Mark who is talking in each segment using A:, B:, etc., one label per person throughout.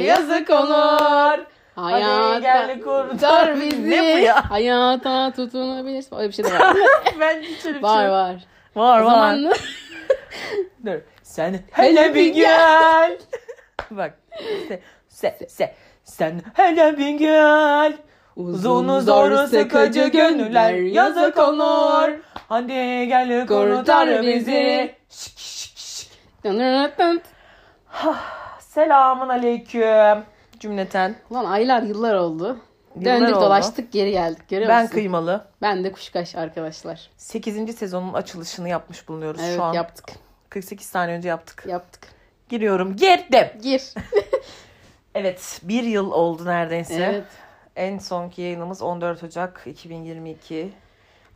A: yazık olur. Hadi
B: Hayata,
A: gel kurtar bizi.
B: ne
A: bu ya?
B: hayata tutunabilirsin. Öyle bir şey de var.
A: ben hiç öyle bir
B: var
A: şey-
B: var.
A: Var
B: O
A: var.
B: zaman ne?
A: Dur. Sen hele bir
B: bir
A: gel. Bak. Se, se, se. Sen hele bir gel. Uzun zoru sıkıcı gönüller yazık olur. Hadi gel kurtar bizi. Şık, şık, şık. Selamun aleyküm. Cümleten.
B: Ulan aylar yıllar oldu.
A: Yıllar
B: Döndük
A: oldu.
B: dolaştık geri geldik görüyor
A: Ben
B: musun?
A: kıymalı.
B: ben de kuşkaş arkadaşlar.
A: 8. sezonun açılışını yapmış bulunuyoruz
B: Evet
A: şu an.
B: yaptık
A: 48 saniye önce yaptık.
B: yaptık.
A: Giriyorum. Girdim.
B: Gir.
A: Evet. Bir yıl oldu neredeyse.
B: evet.
A: En sonki yayınımız 14 Ocak 2022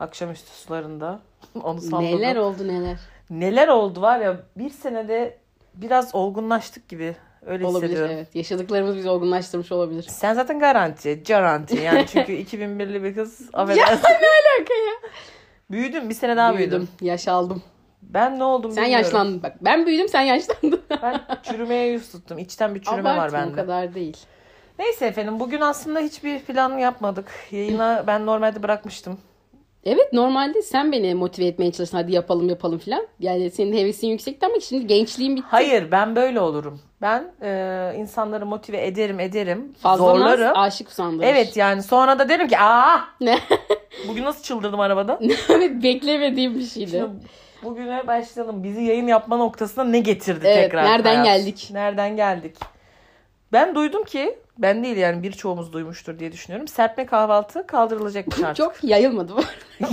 A: akşamüstü sularında. Onu salladım.
B: Neler oldu neler.
A: Neler oldu var ya bir senede biraz olgunlaştık gibi öyle
B: Olabilir
A: hissediyorum.
B: evet. Yaşadıklarımız bizi olgunlaştırmış olabilir.
A: Sen zaten garanti, garanti yani çünkü 2001'li bir kız. affedersin.
B: Şaka ya.
A: Büyüdüm bir sene daha büyüdüm.
B: Büyüdüm. Yaş aldım.
A: Ben ne oldum
B: Sen
A: bilmiyorum.
B: yaşlandın. Bak ben büyüdüm sen yaşlandın.
A: Ben çürümeye yüz tuttum. İçten bir çürüme var
B: Abartma, o
A: bende.
B: kadar değil.
A: Neyse efendim bugün aslında hiçbir plan yapmadık. Yayına ben normalde bırakmıştım.
B: Evet normalde sen beni motive etmeye çalıştın hadi yapalım yapalım filan. Yani senin hevesin yüksekti ama şimdi gençliğin bitti.
A: Hayır ben böyle olurum. Ben e, insanları motive ederim ederim.
B: Fazla
A: zorlarım.
B: naz aşık sandırır.
A: Evet yani sonra da derim ki aa
B: Ne?
A: bugün nasıl çıldırdım arabada?
B: evet beklemediğim bir şeydi.
A: Şimdi bugüne başlayalım. Bizi yayın yapma noktasına ne getirdi
B: Evet,
A: tekrar?
B: nereden geldik?
A: Nereden geldik? Ben duydum ki ben değil yani birçoğumuz duymuştur diye düşünüyorum. Serpme kahvaltı kaldırılacakmış artık.
B: Çok yayılmadı bu.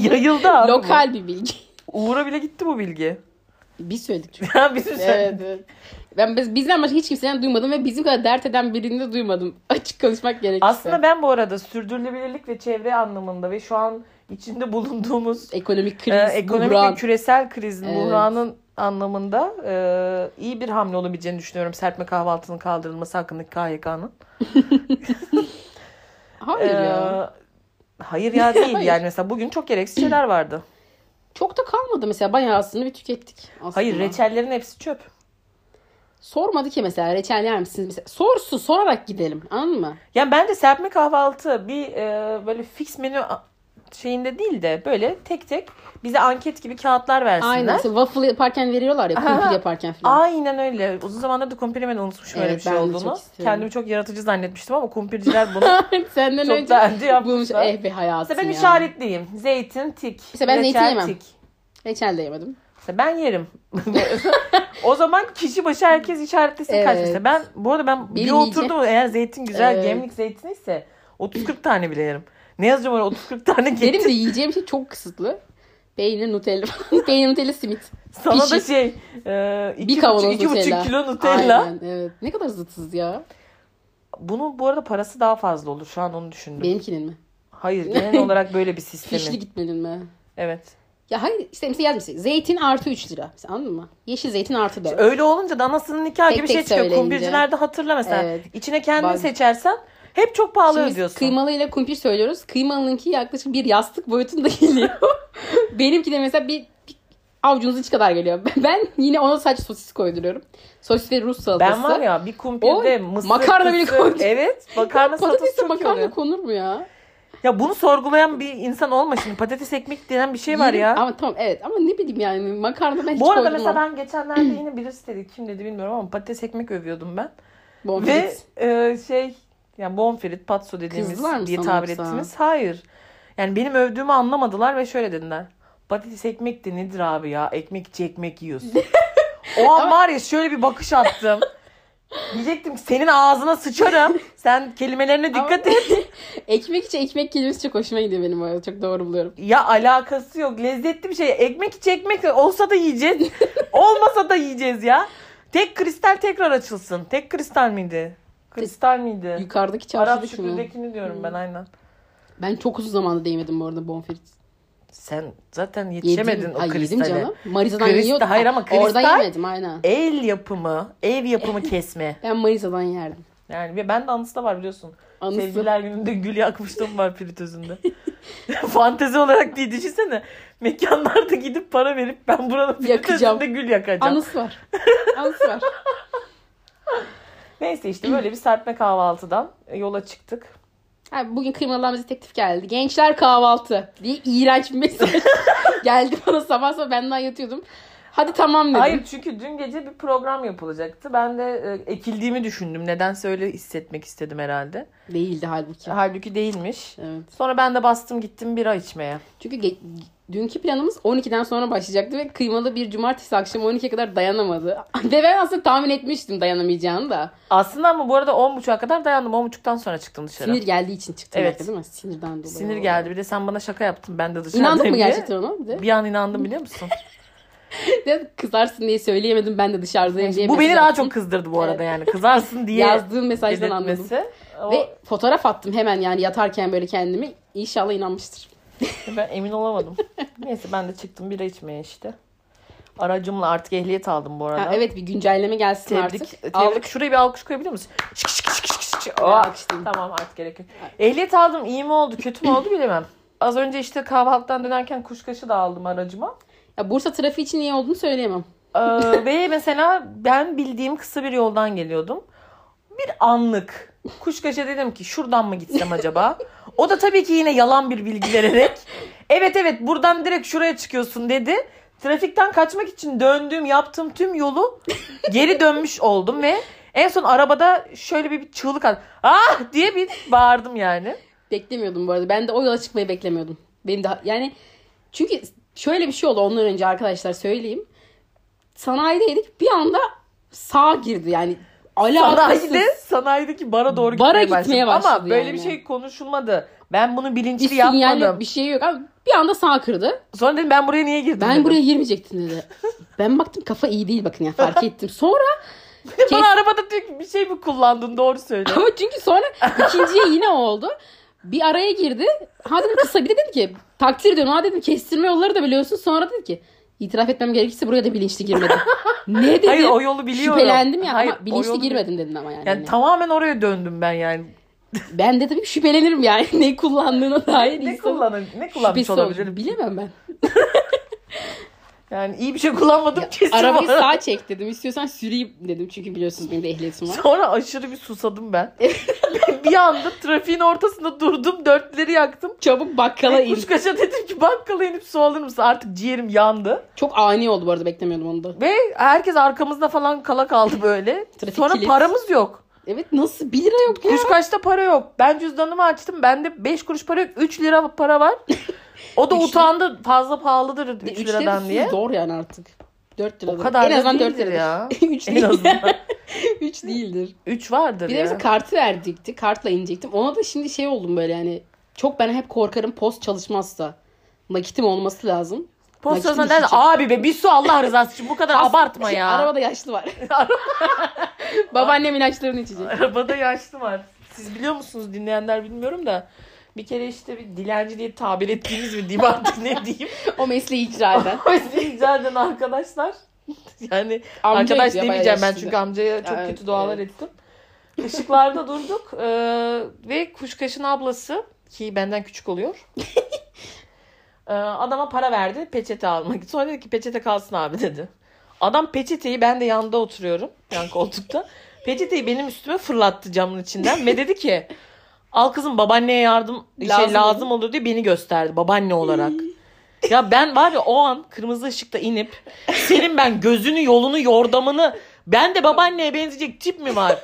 A: Yayıldı abi. bu.
B: Lokal bir bilgi.
A: Uğur'a bile gitti bu bilgi.
B: Biz söyledik çünkü.
A: Ya bizim sen-
B: evet, evet. Ben biz, bizden başka hiç kimseden duymadım ve bizim kadar dert eden birini de duymadım. Açık konuşmak gerekirse.
A: Aslında ben bu arada sürdürülebilirlik ve çevre anlamında ve şu an içinde bulunduğumuz
B: ekonomik kriz,
A: e, ekonomik
B: buhran.
A: ve küresel krizin,
B: Evet.
A: buhranın anlamında e, iyi bir hamle olabileceğini düşünüyorum. Serpme kahvaltının kaldırılması hakkındaki KHK'nın.
B: Hayır
A: Ee,
B: ya.
A: E, Hayır ya değil
B: Hayır.
A: yani mesela bugün çok gereksiz şeyler vardı.
B: Çok da kalmadı mesela bayağı aslında bir tükettik. Aslında.
A: Hayır reçellerin hepsi çöp.
B: Sormadı ki mesela reçel yer misiniz? Mesela, sorsu sorarak gidelim anladın mı?
A: Yani bence serpme kahvaltı bir e, böyle fix menü a- şeyinde değil de böyle tek tek bize anket gibi kağıtlar versinler.
B: Aynen.
A: Aynen.
B: Mesela waffle yaparken veriyorlar ya.
A: Aha.
B: Kumpir yaparken falan.
A: öyle. Uzun zamandır da kumpirimeni unutmuşum öyle
B: Evet,
A: bir şey
B: ben de
A: olduğunu.
B: çok istiyorum.
A: Kendimi çok yaratıcı zannetmiştim ama kumpirciler bunu
B: Senden
A: çok
B: önce
A: daha önce
B: bulmuş.
A: yapmışlar.
B: Eh be hayatım
A: Mesela ben
B: ya.
A: işaretliyim. Zeytin, tik.
B: Mesela ben zeytin
A: reçel,
B: yemem.
A: tik.
B: Reçel de yemedim.
A: Mesela ben yerim. o zaman kişi başı herkes işaretlesin kaç
B: Evet.
A: mesela. Ben bu arada ben bir
B: Bilmeyecek.
A: oturdum eğer zeytin güzel
B: Evet.
A: gemlik zeytin ise 30-40 tane bile yerim. Ne yazacağım oraya 30-40 tane
B: Benim de
A: getir.
B: yiyeceğim şey çok kısıtlı. Peynir, Nutella falan. Peynir, Nutella, simit.
A: Sana da
B: pişir.
A: şey
B: Bir kavanoz
A: 2,5
B: Nutella.
A: kilo Nutella.
B: Aynen evet. Ne kadar zıtsız ya.
A: Bunun bu arada parası daha fazla olur. Şu an onu düşündüm.
B: Benimkinin mi?
A: Hayır genel olarak böyle bir
B: Fişli
A: sistemi.
B: gitmenin mi?
A: Evet.
B: Ya hayır işte mesela yazmış. Zeytin artı 3 lira. Mesela anladın mı? Yeşil zeytin artı 4.
A: Öyle olunca da anasının nikahı
B: Tek
A: gibi
B: tek
A: şey çıkıyor.
B: söyleyince.
A: Kumbircilerde hatırla mesela.
B: Evet.
A: İçine kendini
B: Bak.
A: seçersen hep çok pahalı
B: Şimdi biz
A: ödüyorsun.
B: kıymalı ile kumpir söylüyoruz. Kıymalınınki yaklaşık bir yastık boyutunda geliyor. Benimki de mesela bir, bir avucunuz içi kadar geliyor. Ben yine ona sadece sosis koyduruyorum. Sosis ve Rus salatası.
A: Ben var ya bir kumpirde
B: O
A: mısır
B: makarna bile
A: kısı-
B: koydum.
A: Evet makarna salatası
B: Patatesle
A: çok iyi
B: makarna
A: oluyor.
B: konur mu ya?
A: Ya bunu sorgulayan bir insan olma şimdi. Patates ekmek denen bir şey var
B: Yerim-
A: ya.
B: Ama tamam evet ama ne bileyim yani makarna ben hiç
A: Bu arada
B: koydurmam.
A: mesela ben geçenlerde yine birisi dedi kim dedi bilmiyorum ama patates ekmek övüyordum ben. Ve
B: Bonfils.
A: e, şey yani bonfrit patso dediğimiz
B: Kızdılar mı
A: diye
B: sana
A: tabir
B: yoksa?
A: ettiğimiz hayır. Yani benim övdüğümü anlamadılar ve şöyle dediler. Patates ekmek de nedir abi ya? Ekmekçi ekmek yiyorsun. o an var ya şöyle bir bakış attım. Diyecektim ki senin ağzına sıçarım. Sen kelimelerine dikkat et.
B: Ekmek içi ekmek kelimesi çok hoşuma gidiyor benim arada. Çok doğru buluyorum.
A: Ya alakası yok. Lezzetli bir şey. Ekmek içi ekmek olsa da yiyeceğiz. Olmasa da yiyeceğiz ya. Tek kristal tekrar açılsın. Tek kristal miydi? Kristal miydi?
B: Yukarıdaki
A: Arap
B: çarşıdaki mi?
A: şükrüdekini diyorum
B: Hmm.
A: ben aynen.
B: Ben çok uzun zamanda değmedim bu arada bonfrit.
A: Sen zaten
B: Yedim.
A: yetişemedin o
B: Ay, yedim
A: kristale.
B: canım. Marisa'dan
A: Kristal-
B: yiyordum.
A: hayır ama kristal-
B: Oradan yemedim aynen.
A: El yapımı, ev yapımı kesme.
B: Ben Marisa'dan yerdim.
A: Yani ve ben de anısı da var biliyorsun.
B: Anısı.
A: Sevgililer gününde gül yakmıştım var piritözünde. Fantezi olarak diye düşünsene. Mekanlarda gidip para verip ben buranın
B: Yakacağım.
A: piritözünde gül yakacağım.
B: Anısı var. Anısı var.
A: Neyse işte böyle bir serpme kahvaltıdan e, yola çıktık.
B: Ha, bugün kıymalıdan bize teklif geldi. Gençler kahvaltı diye iğrenç bir mesaj geldi bana sabah sabah ben daha yatıyordum. Hadi tamam dedim.
A: Hayır çünkü dün gece bir program yapılacaktı. Ben de e, ekildiğimi düşündüm. Nedense öyle hissetmek istedim herhalde.
B: Değildi halbuki.
A: Halbuki değilmiş.
B: Evet.
A: Sonra ben de bastım gittim bira içmeye.
B: Çünkü ge- dünkü planımız 12'den sonra başlayacaktı ve kıymalı bir cumartesi akşamı 12'ye kadar dayanamadı. ve ben aslında tahmin etmiştim dayanamayacağını da.
A: Aslında ama bu arada 10.30'a kadar dayandım. 10.30'dan sonra çıktım dışarı.
B: Sinir
A: Sinir,
B: geldiği için çıktı
A: Evet.
B: evet. değil mi? Sinirden dolayı.
A: geldi. Bir de sen bana şaka yaptın. Ben de dışarıdayım
B: İnandın mı
A: diye.
B: gerçekten ona? Bir de,
A: Bir an inandım biliyor musun?
B: de kızarsın diye söyleyemedim ben de dışarıdayım diye.
A: bu beni
B: mesaj
A: daha
B: attın.
A: çok kızdırdı bu arada yani. Kızarsın diye
B: yazdığın mesajdan anladım.
A: dedirtmesi. O-
B: Ve fotoğraf attım hemen yani yatarken böyle kendimi. İnşallah inanmıştır.
A: Ben emin olamadım. Neyse ben de çıktım bira içmeye işte. Aracımla artık ehliyet aldım bu arada.
B: Ha, evet bir güncelleme gelsin
A: Tebrik.
B: artık.
A: tebrik.
B: Aldık.
A: Şuraya bir alkış koyabilir misin? Şık şık şık şık şık şık.
B: Ben
A: Aa,
B: alkışlayayım.
A: tamam artık gerek yok. Ehliyet aldım iyi mi oldu kötü mü oldu bilemem. Az önce işte kahvaltıdan dönerken kuşkaşı da aldım aracıma.
B: Ya Bursa trafiği için iyi olduğunu söyleyemem.
A: Ee, ve mesela ben bildiğim kısa bir yoldan geliyordum. Bir anlık kuşkaşa dedim ki şuradan mı gitsem acaba? O da tabii ki yine yalan bir bilgi vererek evet evet buradan direkt şuraya çıkıyorsun dedi. Trafikten kaçmak için döndüğüm yaptığım tüm yolu geri dönmüş oldum ve en son arabada şöyle bir, bir çığlık attım. Ah diye bir bağırdım yani.
B: Beklemiyordum bu arada. Ben de o yola çıkmayı beklemiyordum. Benim de yani çünkü şöyle bir şey oldu ondan önce arkadaşlar söyleyeyim. Sanayideydik. Bir anda sağa girdi yani. Alakasız.
A: Sanayide, sanayideki bara doğru
B: Bara
A: gitmeye,
B: gitmeye
A: başladı. Ama
B: başladı
A: böyle
B: yani.
A: bir şey konuşulmadı. Ben bunu bilinçli
B: Bir sinyal
A: yapmadım.
B: bir şey yok ama bir anda sağa kırdı.
A: Sonra dedim ben buraya niye girdim
B: Ben
A: dedim.
B: buraya girmeyecektim dedi. Ben baktım kafa iyi değil bakın ya fark ettim. Sonra
A: Bana arabada diyor ki bir şey mi kullandın doğru söyle.
B: Ama çünkü sonra ikinciye yine o oldu. Bir araya girdi. Ha dedim kısa bir de dedi ki takdir ediyorum. Ha dedim kestirme yolları da biliyorsun. Sonra dedi ki itiraf etmem gerekirse buraya da bilinçli girmedim. ne dedim?
A: Hayır o yolu biliyorum.
B: Şüphelendim ya
A: Hayır,
B: ama
A: o
B: bilinçli
A: yolu-
B: girmedin dedin ama yani.
A: Yani
B: Hani
A: tamamen oraya döndüm ben yani.
B: ben de tabii ki şüphelenirim yani ne kullandığına dair.
A: Ne
B: insanın
A: kullanın ne kullanmış
B: şüphesi olur.
A: olabilirim?
B: Bilemem ben.
A: Yani iyi bir şey kullanmadım kesin.
B: Arabayı
A: bu arada.
B: sağa çek dedim. İstiyorsan süreyim dedim. Çünkü biliyorsunuz benim de ehliyetim var.
A: Sonra aşırı bir susadım ben. bir anda trafiğin ortasında durdum dörtleri yaktım.
B: Çabuk bakkala in.
A: Kuşkaşa dedim ki bakkala inip su alır mısın? Artık ciğerim yandı.
B: Çok ani oldu bu arada beklemiyordum onu da.
A: Ve herkes arkamızda falan kala kaldı böyle.
B: Trafik
A: Sonra
B: kilit.
A: paramız yok.
B: Evet nasıl 1 lira yok ya.
A: Kuşkaş'ta para yok. Ben cüzdanımı açtım. Bende 5 kuruş para yok. 3 lira para var. O da
B: Üç lira-
A: utandı. Fazla pahalıdır 3
B: Üç
A: liradan
B: lirası
A: diye.
B: Zor yani artık. 4 liradan.
A: O
B: en
A: kadar
B: azından
A: da
B: 4
A: değildir
B: liradır.
A: ya.
B: 3
A: En
B: değil.
A: azından
B: 3 değildir.
A: 3 vardır
B: Bir de
A: ya.
B: mesela kartı verdikti. Kartla inecektim. Ona da şimdi şey oldum böyle yani. Çok ben hep korkarım post çalışmazsa. Nakitim olması lazım.
A: Postasına
B: Nakitli
A: der
B: düşecek.
A: abi be bir su Allah rızası için bu kadar abartma ya.
B: Şey, Arabada yaşlı var. Babaannem ilaçlarını içecek.
A: Arabada yaşlı var. Siz biliyor musunuz dinleyenler bilmiyorum da bir kere işte bir dilenci diye tabir ettiğiniz mi diyeyim artık ne diyeyim.
B: O mesleği icra eden.
A: O yüzden rica eden arkadaşlar. Yani
B: Amca yapıyor,
A: Arkadaş
B: bayağı
A: demeyeceğim ben
B: yaşlı.
A: çünkü amcaya çok
B: Evet,
A: kötü dualar ettim. Işıklarda durduk e, ve Kuşkaş'ın ablası ki benden küçük oluyor. e, adama para verdi peçete almak. için. Sonra dedi ki peçete kalsın abi dedi. Adam peçeteyi ben de yanda oturuyorum yan koltukta. Peçeteyi benim üstüme fırlattı camın içinden ve dedi ki al kızım babaanneye yardım şey
B: Lazım
A: lazım olur diye beni gösterdi babaanne olarak. Ya ben var ya o an kırmızı ışıkta inip senin ben gözünü yolunu yordamını ben de babaanneye benzeyecek tip mi var?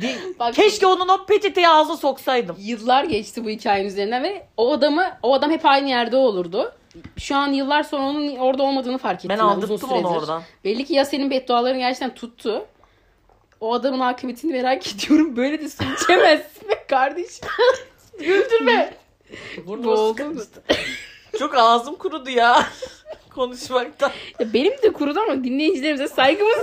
A: Di-
B: Bak-
A: Keşke onun o peçeteyi ağzına soksaydım.
B: Yıllar geçti bu hikayenin üzerine ve o adamı o adam hep aynı yerde olurdu. Şu an yıllar sonra onun orada olmadığını fark ettim.
A: Ben
B: uzun
A: aldırttım onu
B: süredir.
A: oradan.
B: Belli ki ya senin bedduaların gerçekten tuttu. O adamın akıbetini merak ediyorum. Böyle de su içemezsin be kardeşim.
A: Güldürme.
B: Boğuldum.
A: Çok ağzım kurudu ya konuşmaktan.
B: Ya benim de kurudu ama dinleyicilerimize saygımız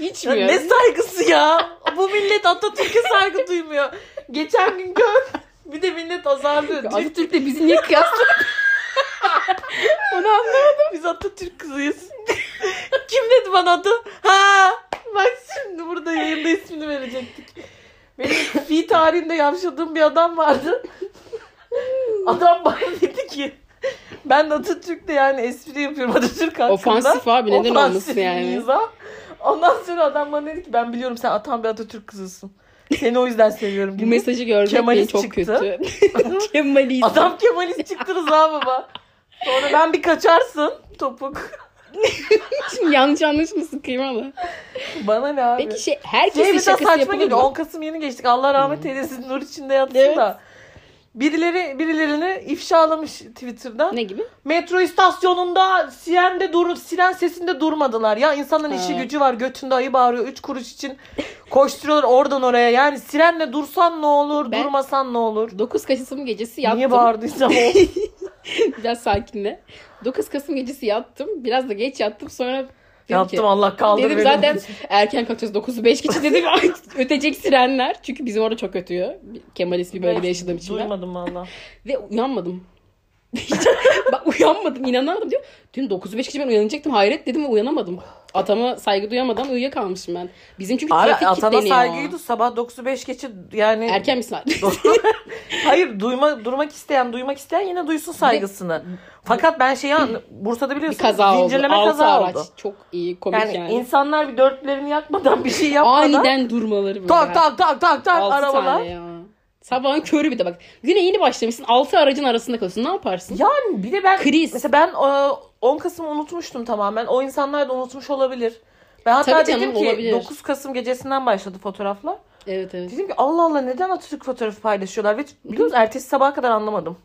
A: Ya
B: içmiyor.
A: ne saygısı ya? Bu millet Atatürk'e saygı duymuyor. Geçen gün gör. Bir de millet azarlıyor. Diyor,
B: Atatürk'le bizi niye kıyaslıyor? Onu anlamadım.
A: Biz Atatürk kızıyız. Kim dedi bana adı? Ha! Bak şimdi burada yayında ismini verecektik. Benim fi tarihinde yavşadığım bir adam vardı. Adam bana dedi ki ben de Atatürk'te yani espri yapıyorum Atatürk hakkında.
B: Ofansif abi, neden
A: Ofansif
B: olmasın yani?
A: bir mizah. Ondan sonra adam bana dedi ki ben biliyorum sen atan bir Atatürk kızısın. Seni o yüzden seviyorum
B: Bu
A: gibi.
B: mesajı görmek
A: Kemalist
B: beni çok
A: çıktı.
B: kötü. Kemalist.
A: Adam Kemalist çıktı Rıza baba. Sonra ben bir kaçarsın topuk.
B: Şimdi yanlış anlaşılmasın kıymalı.
A: Bana ne abi?
B: Peki şey
A: Şey
B: herkesin
A: bir daha
B: şakası
A: saçma
B: yapılır
A: geliyor.
B: mı?
A: 10 Kasım yeni geçtik. Allah rahmet eylesin. Nur içinde yatsın
B: Evet.
A: da. Birileri birilerini ifşalamış Twitter'da.
B: Ne gibi?
A: Metro istasyonunda sirende dur siren sesinde durmadılar. Ya insanların
B: Ha.
A: işi gücü var. Götünde ayı bağırıyor. 3 kuruş için koşturuyorlar oradan oraya. Yani sirenle dursan ne olur,
B: Ben-
A: durmasan ne olur?
B: 9 Kasım gecesi yattım.
A: Niye bağırdıysam o.
B: Biraz sakinle. 9 Kasım gecesi yattım. Biraz da geç yattım. Sonra dedim ki-
A: Yaptım Allah kaldır
B: Dedim
A: beni.
B: zaten erken kalkacağız 9'u 5 geçe dedim "Ay, ötecek sirenler. Çünkü bizim orada çok ötüyor. Kemalist bir bölgede yaşadığım için ben.
A: Duymadım valla.
B: Ve uyanmadım. Hiç- Bak uyanmadım inanamadım diyor. Dün 9'u 5 geçe ben uyanacaktım hayret dedim ve uyanamadım. Atama saygı duyamadan uyuyakalmışım ben. Bizim çünkü
A: Abi
B: trafik
A: atana
B: kilitleniyor.
A: saygıyı duy. Sabah 9.05 geçe yani.
B: Erken bir saat.
A: Hayır duyma, durmak isteyen duymak isteyen yine duysun saygısını. Fakat ben şeyi an- Bursa'da
B: bir
A: biliyorsun
B: kaza oldu.
A: zincirleme
B: Altı
A: kaza
B: araç.
A: oldu.
B: Çok iyi komik
A: Yani,
B: yani.
A: insanlar bir dörtlerini yakmadan bir şey yapmadan.
B: Aniden durmaları böyle.
A: Tak tak tak tak tak
B: Altı
A: arabalar.
B: tane ya. Sabahın körü bir de bak. Güne yeni başlamışsın. 6 aracın arasında kalıyorsun. Ne yaparsın?
A: Yani bir de ben
B: Kriz.
A: mesela ben e, 10 Kasım'ı unutmuştum tamamen. O insanlar da unutmuş olabilir. Ben hatta
B: Tabii canım,
A: dedim ki
B: olabilir.
A: 9 Kasım gecesinden başladı fotoğraflar.
B: Evet evet.
A: Dedim ki Allah Allah neden Atatürk fotoğrafı paylaşıyorlar ve biliyor musun ertesi sabaha kadar anlamadım.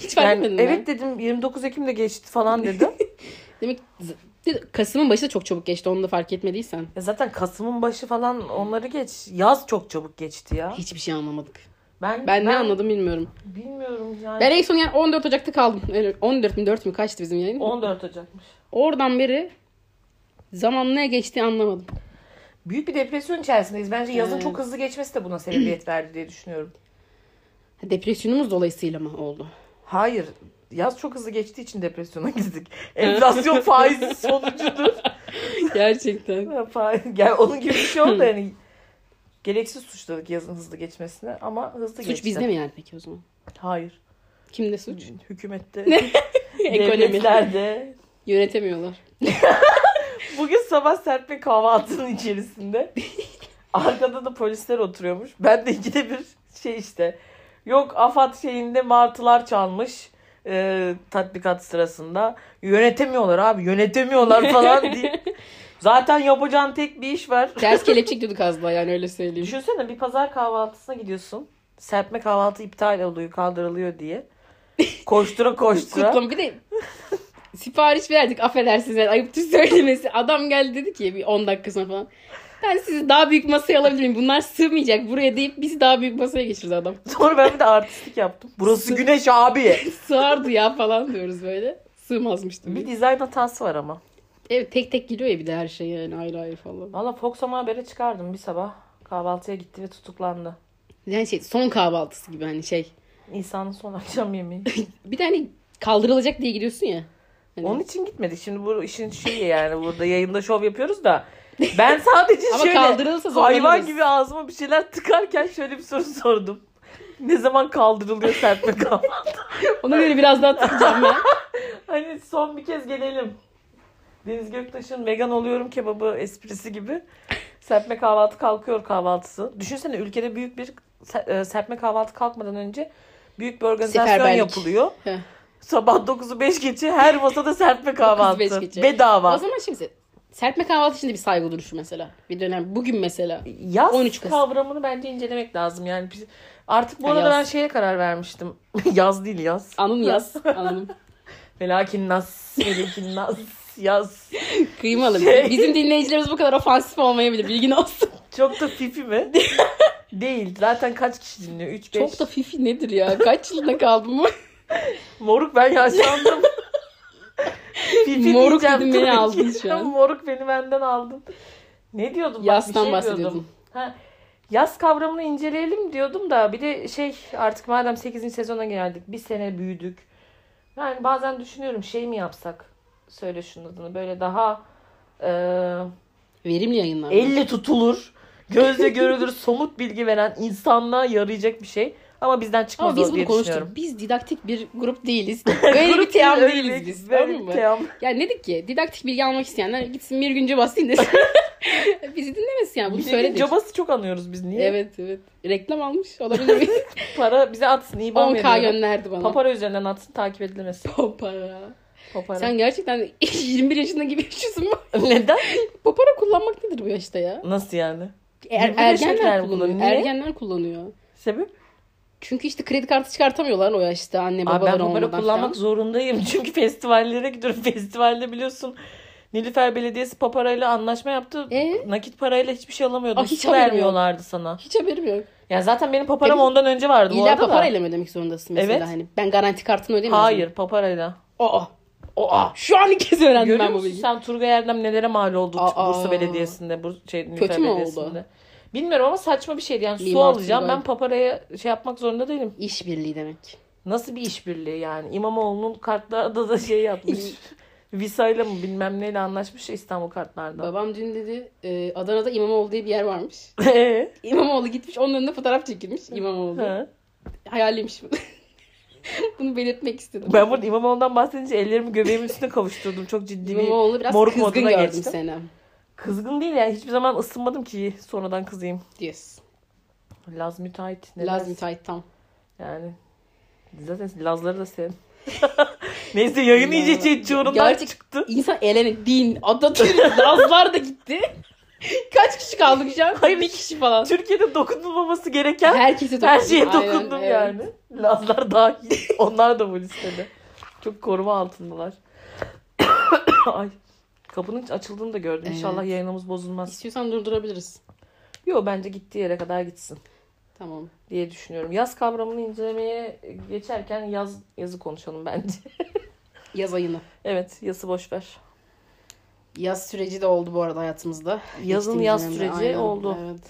B: Hiç fark
A: Yani,
B: etmedin mi?
A: evet dedim 29 Ekim'de geçti falan dedim.
B: Demek z- dedi- Kasım'ın başı da çok çabuk geçti. Onu da fark etmediysen.
A: Ya zaten Kasım'ın başı falan onları geç. Yaz çok çabuk geçti ya.
B: Hiçbir şey anlamadık.
A: Ben
B: Ben, ne anladım bilmiyorum.
A: Bilmiyorum yani.
B: Ben en son yani 14 Ocak'ta kaldım. Öyle 14 mi 4 mü kaçtı bizim yayın?
A: 14 Ocak'mış.
B: Oradan beri zaman ne geçti anlamadım.
A: Büyük bir depresyon içerisindeyiz. Bence yazın
B: Evet.
A: çok hızlı geçmesi de buna sebebiyet verdi diye düşünüyorum.
B: Depresyonumuz dolayısıyla mı oldu?
A: Hayır. Yaz çok hızlı geçtiği için depresyona girdik. Enflasyon faizi sonucudur.
B: Gerçekten.
A: Faiz- yani onun gibi bir şey oldu yani. Gereksiz suçladık yazın hızlı geçmesine ama hızlı geçti.
B: Suç bizde mi yani peki o zaman?
A: Hayır.
B: Kimde suç?
A: Hükümette,
B: Ekonomide.
A: devletlerde.
B: Yönetemiyorlar.
A: Bugün sabah serpme kahvaltının içerisinde arkada da polisler oturuyormuş. Ben de ikide bir şey işte. Yok AFAD şeyinde martılar çalmış e, tatbikat sırasında. Yönetemiyorlar abi yönetemiyorlar falan diye. Zaten yapacağın tek bir iş var.
B: Ters kelepçik diyorduk az daha yani öyle söyleyeyim.
A: Düşünsene bir pazar kahvaltısına gidiyorsun. Serpme kahvaltı iptal oluyor kaldırılıyor diye. Koştura koştura.
B: Kutlama bir de sipariş verdik affedersiniz yani ayıptır söylemesi. Adam geldi dedi ki bir 10 dakika sonra falan. Ben sizi daha büyük masaya alabilir miyim? Bunlar sığmayacak buraya deyip bizi daha büyük masaya geçirdi adam.
A: Sonra ben bir de artistlik yaptım. Burası güneş abi.
B: Sığardı ya falan diyoruz böyle. Sığmazmış
A: Bir
B: tabii.
A: dizayn hatası var ama.
B: Evet tek tek giriyor ya bir de her şey yani ayrı ayrı falan.
A: Valla Fox ama habere çıkardım bir sabah. Kahvaltıya gitti ve tutuklandı.
B: Yani şey son kahvaltısı gibi hani şey.
A: Nisan'ın son akşam yemeği.
B: Bir de hani kaldırılacak diye gidiyorsun ya. Hani-
A: Onun için gitmedik. Şimdi bu işin şeyi yani burada yayında şov yapıyoruz da. Ben sadece
B: Ama
A: şöyle
B: kaldırılırsa zorlanırız.
A: hayvan gibi ağzıma bir şeyler tıkarken şöyle bir soru sordum. Ne zaman kaldırılıyor serpme kahvaltı?
B: Ona göre biraz daha takacağım ben.
A: hani son bir kez gelelim. Deniz Göktaş'ın vegan oluyorum kebabı esprisi gibi. Serpme kahvaltı kalkıyor kahvaltısı. Düşünsene ülkede büyük bir se- e, serpme kahvaltı kalkmadan önce büyük bir organizasyon
B: Seferberlik.
A: yapılıyor.
B: Heh.
A: Sabah 9'u 5 geçe her masada serpme kahvaltı.
B: beş geçe.
A: Bedava.
B: O zaman şimdi serpme kahvaltı için de bir saygı duruşu mesela. Bir dönem bugün mesela.
A: Yaz
B: 13 Kasım.
A: kavramını bence incelemek lazım. Yani biz- artık bu
B: Ha,
A: arada
B: yaz.
A: ben şeye karar vermiştim. yaz değil yaz.
B: Anım yaz. Anım.
A: Velakin nas, velakin nas, yaz.
B: Kıymalı.
A: Şey-
B: Bizim dinleyicilerimiz bu kadar ofansif olmayabilir. Bilgin olsun.
A: Çok da fifi mi? değil. Zaten kaç kişi dinliyor? 3 5.
B: Çok da fifi nedir ya? Kaç yılında kaldım bu?
A: Moruk ben yaşlandım. Fifi
B: Moruk
A: diyeceğim
B: dedim, beni
A: tabii
B: aldın
A: ki.
B: şu an.
A: Moruk beni benden aldın. Ne diyordum?
B: Yastan
A: Bak, bir şey diyordum.
B: bahsediyordum.
A: Ha, yaz kavramını inceleyelim diyordum da bir de şey artık madem 8. sezona geldik bir sene büyüdük. Yani bazen düşünüyorum şey mi yapsak söyle şunun adını böyle daha e,
B: Verimli yayınlar.
A: elle tutulur gözle görülür somut bilgi veren insanlığa yarayacak bir şey. Ama bizden
B: Ama
A: çıkmaz
B: biz
A: o
B: bunu
A: diye
B: konuştuk.
A: düşünüyorum.
B: Biz didaktik bir grup değiliz. Böyle bir team
A: Öyle
B: değiliz
A: bir-
B: biz.
A: böyle
B: Tamam
A: bir
B: mı?
A: team.
B: Yani dedik ki didaktik bilgi almak isteyenler gitsin bir günce bas dinlesin. Bizi dinlemesin yani bunu
A: Bir de
B: söyledik.
A: Cabası çok anıyoruz biz niye?
B: Evet evet. Reklam almış olabilir mi?
A: Para bize atsın iyi bana
B: 10k
A: veriyorum.
B: gönderdi bana.
A: Papara üzerinden atsın takip edilemez.
B: Papara.
A: Papara.
B: Sen gerçekten 21 yaşında gibi yaşıyorsun.
A: Neden?
B: Papara kullanmak nedir bu yaşta ya?
A: Nasıl yani?
B: Er,
A: 21
B: ergenler
A: yaşındakiler
B: kullanıyor.
A: kullanıyor. Niye?
B: Ergenler kullanıyor.
A: Sebep?
B: Çünkü işte kredi kartı çıkartamıyorlar o yaşta anne
A: Abi
B: E, babalar
A: ben
B: olmadan.
A: papara kullanmak
B: falan.
A: zorundayım. Çünkü festivallere gidiyorum. Festivalde biliyorsun Nilüfer Belediyesi paparayla anlaşma yaptı.
B: E?
A: Nakit parayla hiçbir şey alamıyordun.
B: Ah, hiç
A: Su
B: haberim yok.
A: vermiyorlardı sana.
B: Hiç haberim yok.
A: Ya zaten benim paparam
B: E,
A: ondan önce vardı bu
B: İlla
A: arada da.
B: paparayla mı ödemek zorundasın mesela?
A: Evet.
B: Hani ben garanti kartını ödeyemezdim.
A: Hayır paparayla.
B: Aa. Aa. Şu an ilk kez öğrendim
A: Görüyor
B: ben bu
A: musun
B: bilgiyi.
A: sen Turgay Erdem nelere mal oldu
B: Aa.
A: Bursa Belediyesi'nde, Bursa şey, Nilüfer
B: Kötü mü oldu?
A: Belediyesi'nde. Bilmiyorum ama saçma bir şeydi. Yani su
B: Mimar
A: alacağım.
B: Turgay.
A: Ben paparaya şey yapmak zorunda değilim.
B: İşbirliği demek.
A: Nasıl bir işbirliği yani? İmamoğlu'nun kartlarda da şey yapmış. Visa'yla mı bilmem neyle anlaşmış ya İstanbul kartlarda.
B: Babam dün dedi e, Adana'da İmamoğlu diye bir yer varmış.
A: Ee?
B: İmamoğlu gitmiş onun önünde fotoğraf çekilmiş İmamoğlu.
A: Ha.
B: Hayalliymiş bu. Bunu belirtmek istedim.
A: ben burada İmamoğlu'ndan bahsedince ellerimi göbeğimin üstüne kavuşturdum. Çok ciddi bir
B: İmamoğlu biraz
A: moruk
B: kızgın
A: moduna
B: gördüm
A: geçtim.
B: Senem.
A: kızgın değil yani. Hiçbir zaman ısınmadım ki sonradan kızayım.
B: Yes.
A: Laz müteahhit. Ne
B: Lazım
A: dersin?
B: müteahhit tam.
A: Yani zaten Lazları da sev. Neyse yayın
B: Ya,
A: iyice şey, çorumdan
B: gerçek-
A: çıktı.
B: İnsan eleni, din, Atatürk, Lazlar da gitti. Kaç kişi kaldık şu an?
A: Hayır.
B: Bir kişi falan.
A: Türkiye'de dokunulmaması gereken
B: Herkese
A: her
B: dokundum.
A: şeye
B: Aynen,
A: dokundum
B: evet.
A: yani. Lazlar dahil. Onlar da bu listede. Çok koruma altındalar. Ay. Kapının açıldığını da gördüm. İnşallah
B: Evet.
A: yayınımız bozulmaz.
B: İstiyorsan durdurabiliriz.
A: Yo bence gittiği yere kadar gitsin
B: Tamam.
A: diye düşünüyorum. Yaz kavramını incelemeye geçerken yaz yazı konuşalım bence.
B: Yaz ayını.
A: evet, yazı boş ver.
B: Yaz süreci de oldu bu arada hayatımızda.
A: Yazın
B: Geçtiğimiz
A: yaz
B: dönemde,
A: süreci
B: aynen,
A: oldu.
B: Evet.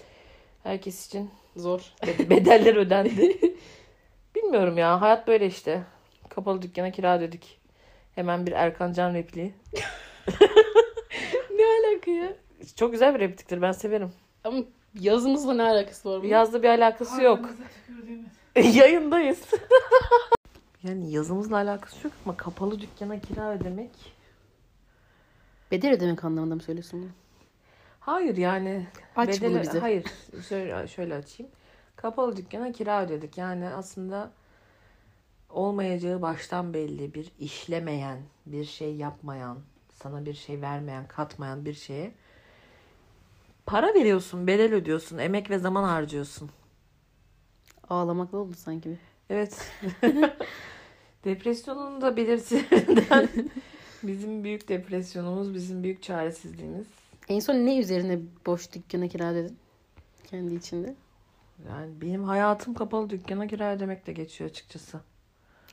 A: Herkes için
B: Zor.
A: Bedeller ödendi. Bilmiyorum ya. Hayat böyle işte. Kapalı dükkana kira dedik. Hemen bir Erkan Can repliği.
B: ne alaka ya?
A: Çok güzel bir repliktir. Ben severim.
B: Ama yazımızla ne alakası var bunun?
A: Yazda bir alakası yok. Yayındayız. yani yazımızla alakası yok ama kapalı dükkana kira ödemek.
B: Bedel ödemek anlamında mı söylüyorsun bunu?
A: Hayır yani.
B: Aç
A: Bedeli-
B: bunu bize.
A: Hayır. Şöyle, şöyle açayım. Kapalı dükkana kira ödedik. Yani aslında olmayacağı baştan belli bir işlemeyen, bir şey yapmayan, sana bir şey vermeyen, katmayan bir şeye para veriyorsun, bedel ödüyorsun, emek ve zaman harcıyorsun.
B: Ağlamakla oldu sanki bir.
A: Evet. Depresyonun da belirtilerinden bizim büyük depresyonumuz, bizim büyük çaresizliğimiz.
B: En son ne üzerine boş dükkana kira dedin? Kendi içinde.
A: Yani benim hayatım kapalı dükkana kira ödemekle geçiyor açıkçası.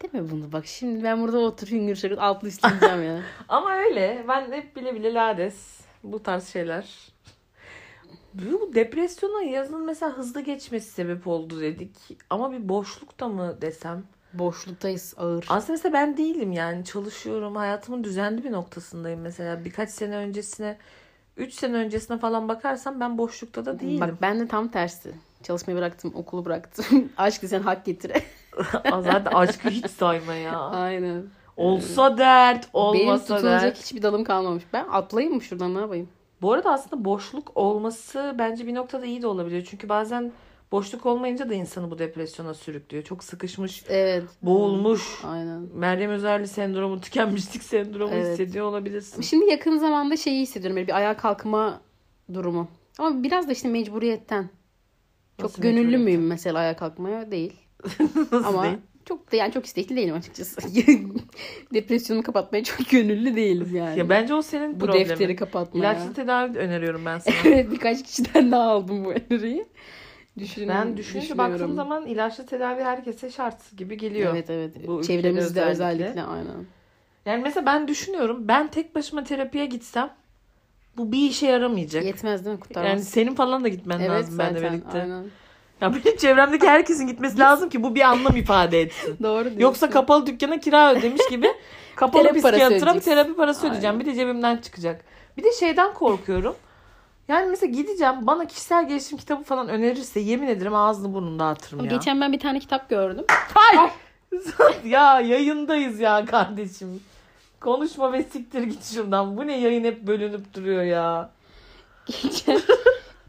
B: Değil mi bunu? Bak şimdi ben burada otur hüngür şakır altlı işleyeceğim ya.
A: Ama öyle. Ben hep bile bile lades. Bu tarz şeyler. Bu depresyona yazın mesela hızlı geçmesi sebep oldu dedik. Ama bir boşlukta mı desem?
B: Boşluktayız ağır.
A: Aslında mesela ben değilim yani. Çalışıyorum. Hayatımın düzenli bir noktasındayım mesela. Birkaç sene öncesine, 3 sene öncesine falan bakarsam ben boşlukta da değilim.
B: Bak ben de tam tersi. Çalışmayı bıraktım, okulu bıraktım. Aşkı sen hak getire.
A: Aa, Zaten aşkı hiç sayma ya.
B: Aynen.
A: Olsa dert,
B: Benim
A: olmasa
B: tutulacak
A: dert.
B: hiçbir dalım kalmamış. Ben atlayayım mı şuradan ne yapayım?
A: Bu arada aslında boşluk olması bence bir noktada iyi de olabiliyor. Çünkü bazen boşluk olmayınca da insanı bu depresyona sürüklüyor. Çok sıkışmış,
B: Evet.
A: boğulmuş,
B: Aynen.
A: Meryem Özerli sendromu, tükenmişlik sendromu
B: Evet.
A: hissediyor olabilirsin.
B: Şimdi yakın zamanda şeyi hissediyorum. Böyle bir ayağa kalkma durumu. Ama biraz da işte mecburiyetten. Çok
A: Nasıl
B: gönüllü
A: mecburiyetten?
B: müyüm mesela ayağa kalkmaya? Değil.
A: Nasıl
B: Ama
A: değil?
B: çok da yani çok istekli değilim açıkçası. Depresyonumu kapatmaya çok gönüllü değilim yani.
A: Ya bence o senin
B: bu
A: problemin.
B: defteri kapatmaya.
A: İlaçlı tedavi öneriyorum ben sana.
B: Evet birkaç kişiden daha aldım bu öneriyi. Düşünün,
A: ben düşünce baktığım zaman ilaçlı tedavi herkese şart gibi geliyor.
B: Evet evet.
A: Bu ülkede
B: Çevremizde özellikle.
A: özellikle.
B: aynen.
A: Yani mesela ben düşünüyorum ben tek başıma terapiye gitsem bu bir işe yaramayacak.
B: Yetmez değil mi kurtarmaz?
A: Yani senin falan da gitmen
B: evet
A: lazım
B: zaten
A: benimle birlikte.
B: aynen.
A: Ya benim çevremdeki herkesin gitmesi lazım ki bu bir anlam ifade etsin.
B: Doğru diyorsun.
A: Yoksa kapalı dükkana kira ödemiş gibi kapalı
B: Terapi parası
A: psikiyatra bir
B: ödeyeceksin.
A: terapi parası ödeyeceğim. Bir de cebimden çıkacak. Bir de şeyden korkuyorum. Yani mesela gideceğim bana kişisel gelişim kitabı falan önerirse yemin ederim ağzını burnunu dağıtırım ya.
B: Geçen ben bir tane kitap gördüm.
A: Ay! ya yayındayız ya kardeşim. Konuşma ve siktir git şuradan. Bu ne yayın hep bölünüp duruyor ya.
B: Geçen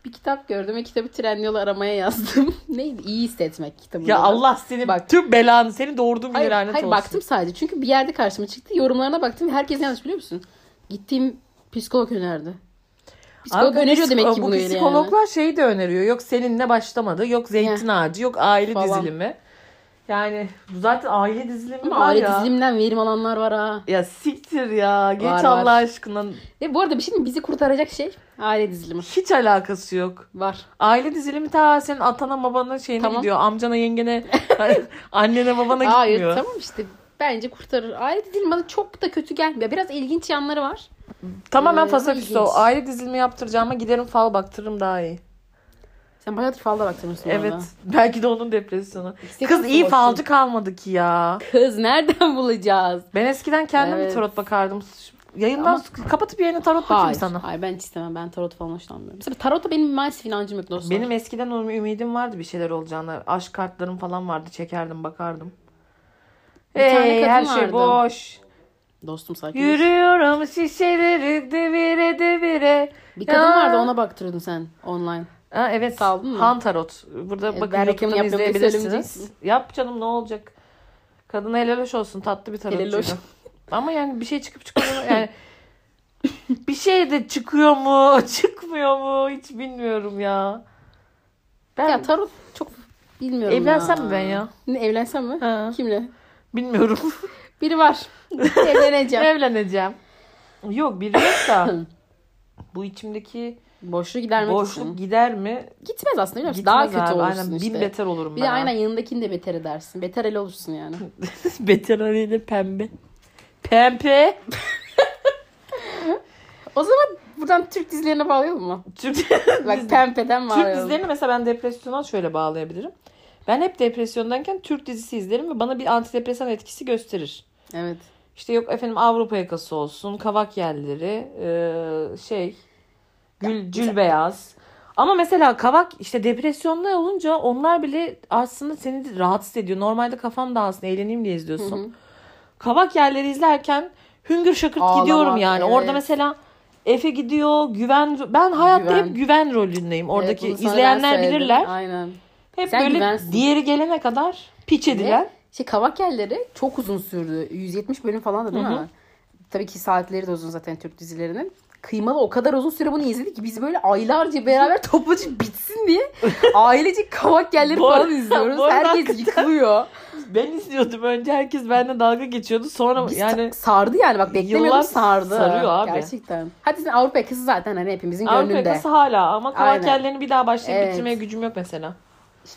B: bir kitap gördüm ve kitabı tren yolu aramaya yazdım. Neydi? İyi hissetmek kitabı.
A: Ya Allah seni
B: Bak.
A: tüm belanı seni doğurduğun gün
B: Hayır,
A: lanet
B: hayır
A: olsun.
B: baktım sadece. Çünkü bir yerde karşıma çıktı. Yorumlarına baktım. Herkes yanlış biliyor musun? Gittiğim psikolog önerdi. Psikolog
A: Abi bu
B: öneriyor demek
A: psiko-
B: ki
A: bu
B: bunu yani.
A: psikologlar şeyi de öneriyor. Yok seninle başlamadı. Yok zeytin ağacı. Yok aile
B: Falan.
A: dizilimi. Yani bu zaten aile dizilimi
B: Ama
A: var
B: aile
A: ya.
B: diziliminden verim alanlar var ha.
A: Ya siktir ya. Geç
B: Var, var.
A: Allah aşkına.
B: Ve bu arada bir şey diyeyim mi? Bizi kurtaracak şey aile dizilimi.
A: Hiç alakası yok.
B: Var.
A: Aile dizilimi ta senin atana babana şeyine
B: Tamam.
A: gidiyor. Amcana yengene annene babana
B: Hayır
A: gitmiyor.
B: tamam işte. Bence kurtarır. Aile dizilimi bana çok da kötü gelmiyor. Biraz ilginç yanları var.
A: Tamamen
B: Ee,
A: fasafiso.
B: ilginç.
A: Aile dizilimi yaptıracağıma giderim fal baktırırım daha iyi.
B: Sen bayağıdır falda baktırmışsın
A: Evet.
B: orada.
A: Belki de onun depresyonu.
B: İşte
A: Kız
B: kız
A: iyi
B: olsun.
A: falcı kalmadı ki ya.
B: Kız nereden bulacağız?
A: Ben eskiden kendim
B: Evet.
A: bir tarot bakardım. Yayından kapatıp yayını tarot bakayım
B: Hayır.
A: sana.
B: Hayır ben hiç istemem. Ben tarot falan hoşlanmıyorum. Mesela tarota benim maalesef inancım yok dostum.
A: Benim eskiden o ümidim vardı bir şeyler olacağına. Aşk kartlarım falan vardı. Çekerdim bakardım.
B: Bir tane
A: Ey,
B: kadın
A: her
B: vardı.
A: şey boş.
B: Dostum sakin. ol.
A: Yürüyorum şişeleri devire devire.
B: Bir kadın
A: Ya.
B: vardı ona baktırıyordun sen online.
A: Ha, evet.
B: Sağ olun mu?
A: Han Tarot. Burada
B: Evet,
A: bakın
B: E, ben reklamını
A: YouTube'dan
B: yapmıyorum diye
A: izleyebilirsiniz.
B: söylemeyeceksin.
A: Yap canım ne olacak. Kadına helal hoş olsun. Tatlı bir
B: Helal
A: tarotçuydu.
B: hoş.
A: Ama yani bir şey çıkıp çıkıyor mu? Yani bir şey de çıkıyor mu? Çıkmıyor mu? Hiç bilmiyorum ya. Ben
B: Ya tarot çok bilmiyorum
A: Evlensem
B: ya.
A: mi ben ya?
B: Ne, evlensem mi?
A: Ha.
B: Kimle?
A: bilmiyorum.
B: Biri var. Evleneceğim.
A: Evleneceğim. Yok biri yok da bu içimdeki
B: Boşluğu gidermek
A: boşluk
B: için.
A: gider mi?
B: Gitmez aslında biliyor musun?
A: Gitmez
B: Daha kötü
A: abi.
B: olursun
A: Aynen,
B: işte.
A: Bin beter olurum
B: bir
A: ben.
B: de
A: ha.
B: aynen yanındakini de beter edersin. Beter el olursun yani.
A: beter haliyle pembe. Pembe.
B: O zaman buradan Türk dizilerine bağlayalım mı?
A: Türk,
B: Bak Pempe'den bağlayalım.
A: Türk dizilerini mesela ben depresyona şöyle bağlayabilirim. Ben hep depresyondayken Türk dizisi izlerim ve bana bir antidepresan etkisi gösterir.
B: Evet.
A: İşte yok efendim Avrupa yakası olsun, kavak yerleri, e, şey, gül, cül beyaz. Ama mesela kavak işte depresyonda olunca onlar bile aslında seni rahatsız ediyor. Normalde kafam dağılsın, eğleneyim diye izliyorsun. Kavak yerleri izlerken hüngür şakırt
B: Ağlamak,
A: gidiyorum yani.
B: evet.
A: Orada mesela Efe gidiyor, güven ben hayatta
B: Güven.
A: hep güven rolündeyim. Oradaki
B: Evet, bunu sana ben
A: izleyenler
B: söyledim.
A: bilirler.
B: Aynen.
A: Hep
B: Sen
A: böyle
B: güvensin.
A: diğeri gelene kadar piç edilen.
B: Ve şey kavak yerleri çok uzun sürdü. 170 bölüm falan da değil mi? Tabii ki saatleri de uzun zaten Türk dizilerinin. Kıymalı o kadar uzun süre bunu izledik ki biz böyle aylarca beraber topluca bitsin diye ailecek kavak yerleri
A: Bu arada-
B: falan izliyoruz.
A: bu arada
B: Herkes
A: hakikaten-
B: yıkılıyor.
A: Ben izliyordum önce herkes benimle dalga geçiyordu. Sonra
B: Biz
A: yani
B: sardı yani bak beklemiyordum
A: Yıllar
B: sardı.
A: sarıyor abi.
B: Gerçekten. Hadi sen Avrupa yakası zaten hani hepimizin
A: Avrupa
B: gönlünde.
A: yakası hala ama kavak
B: Aynen.
A: yerlerini bir daha başlayıp
B: Evet.
A: bitirmeye gücüm yok mesela.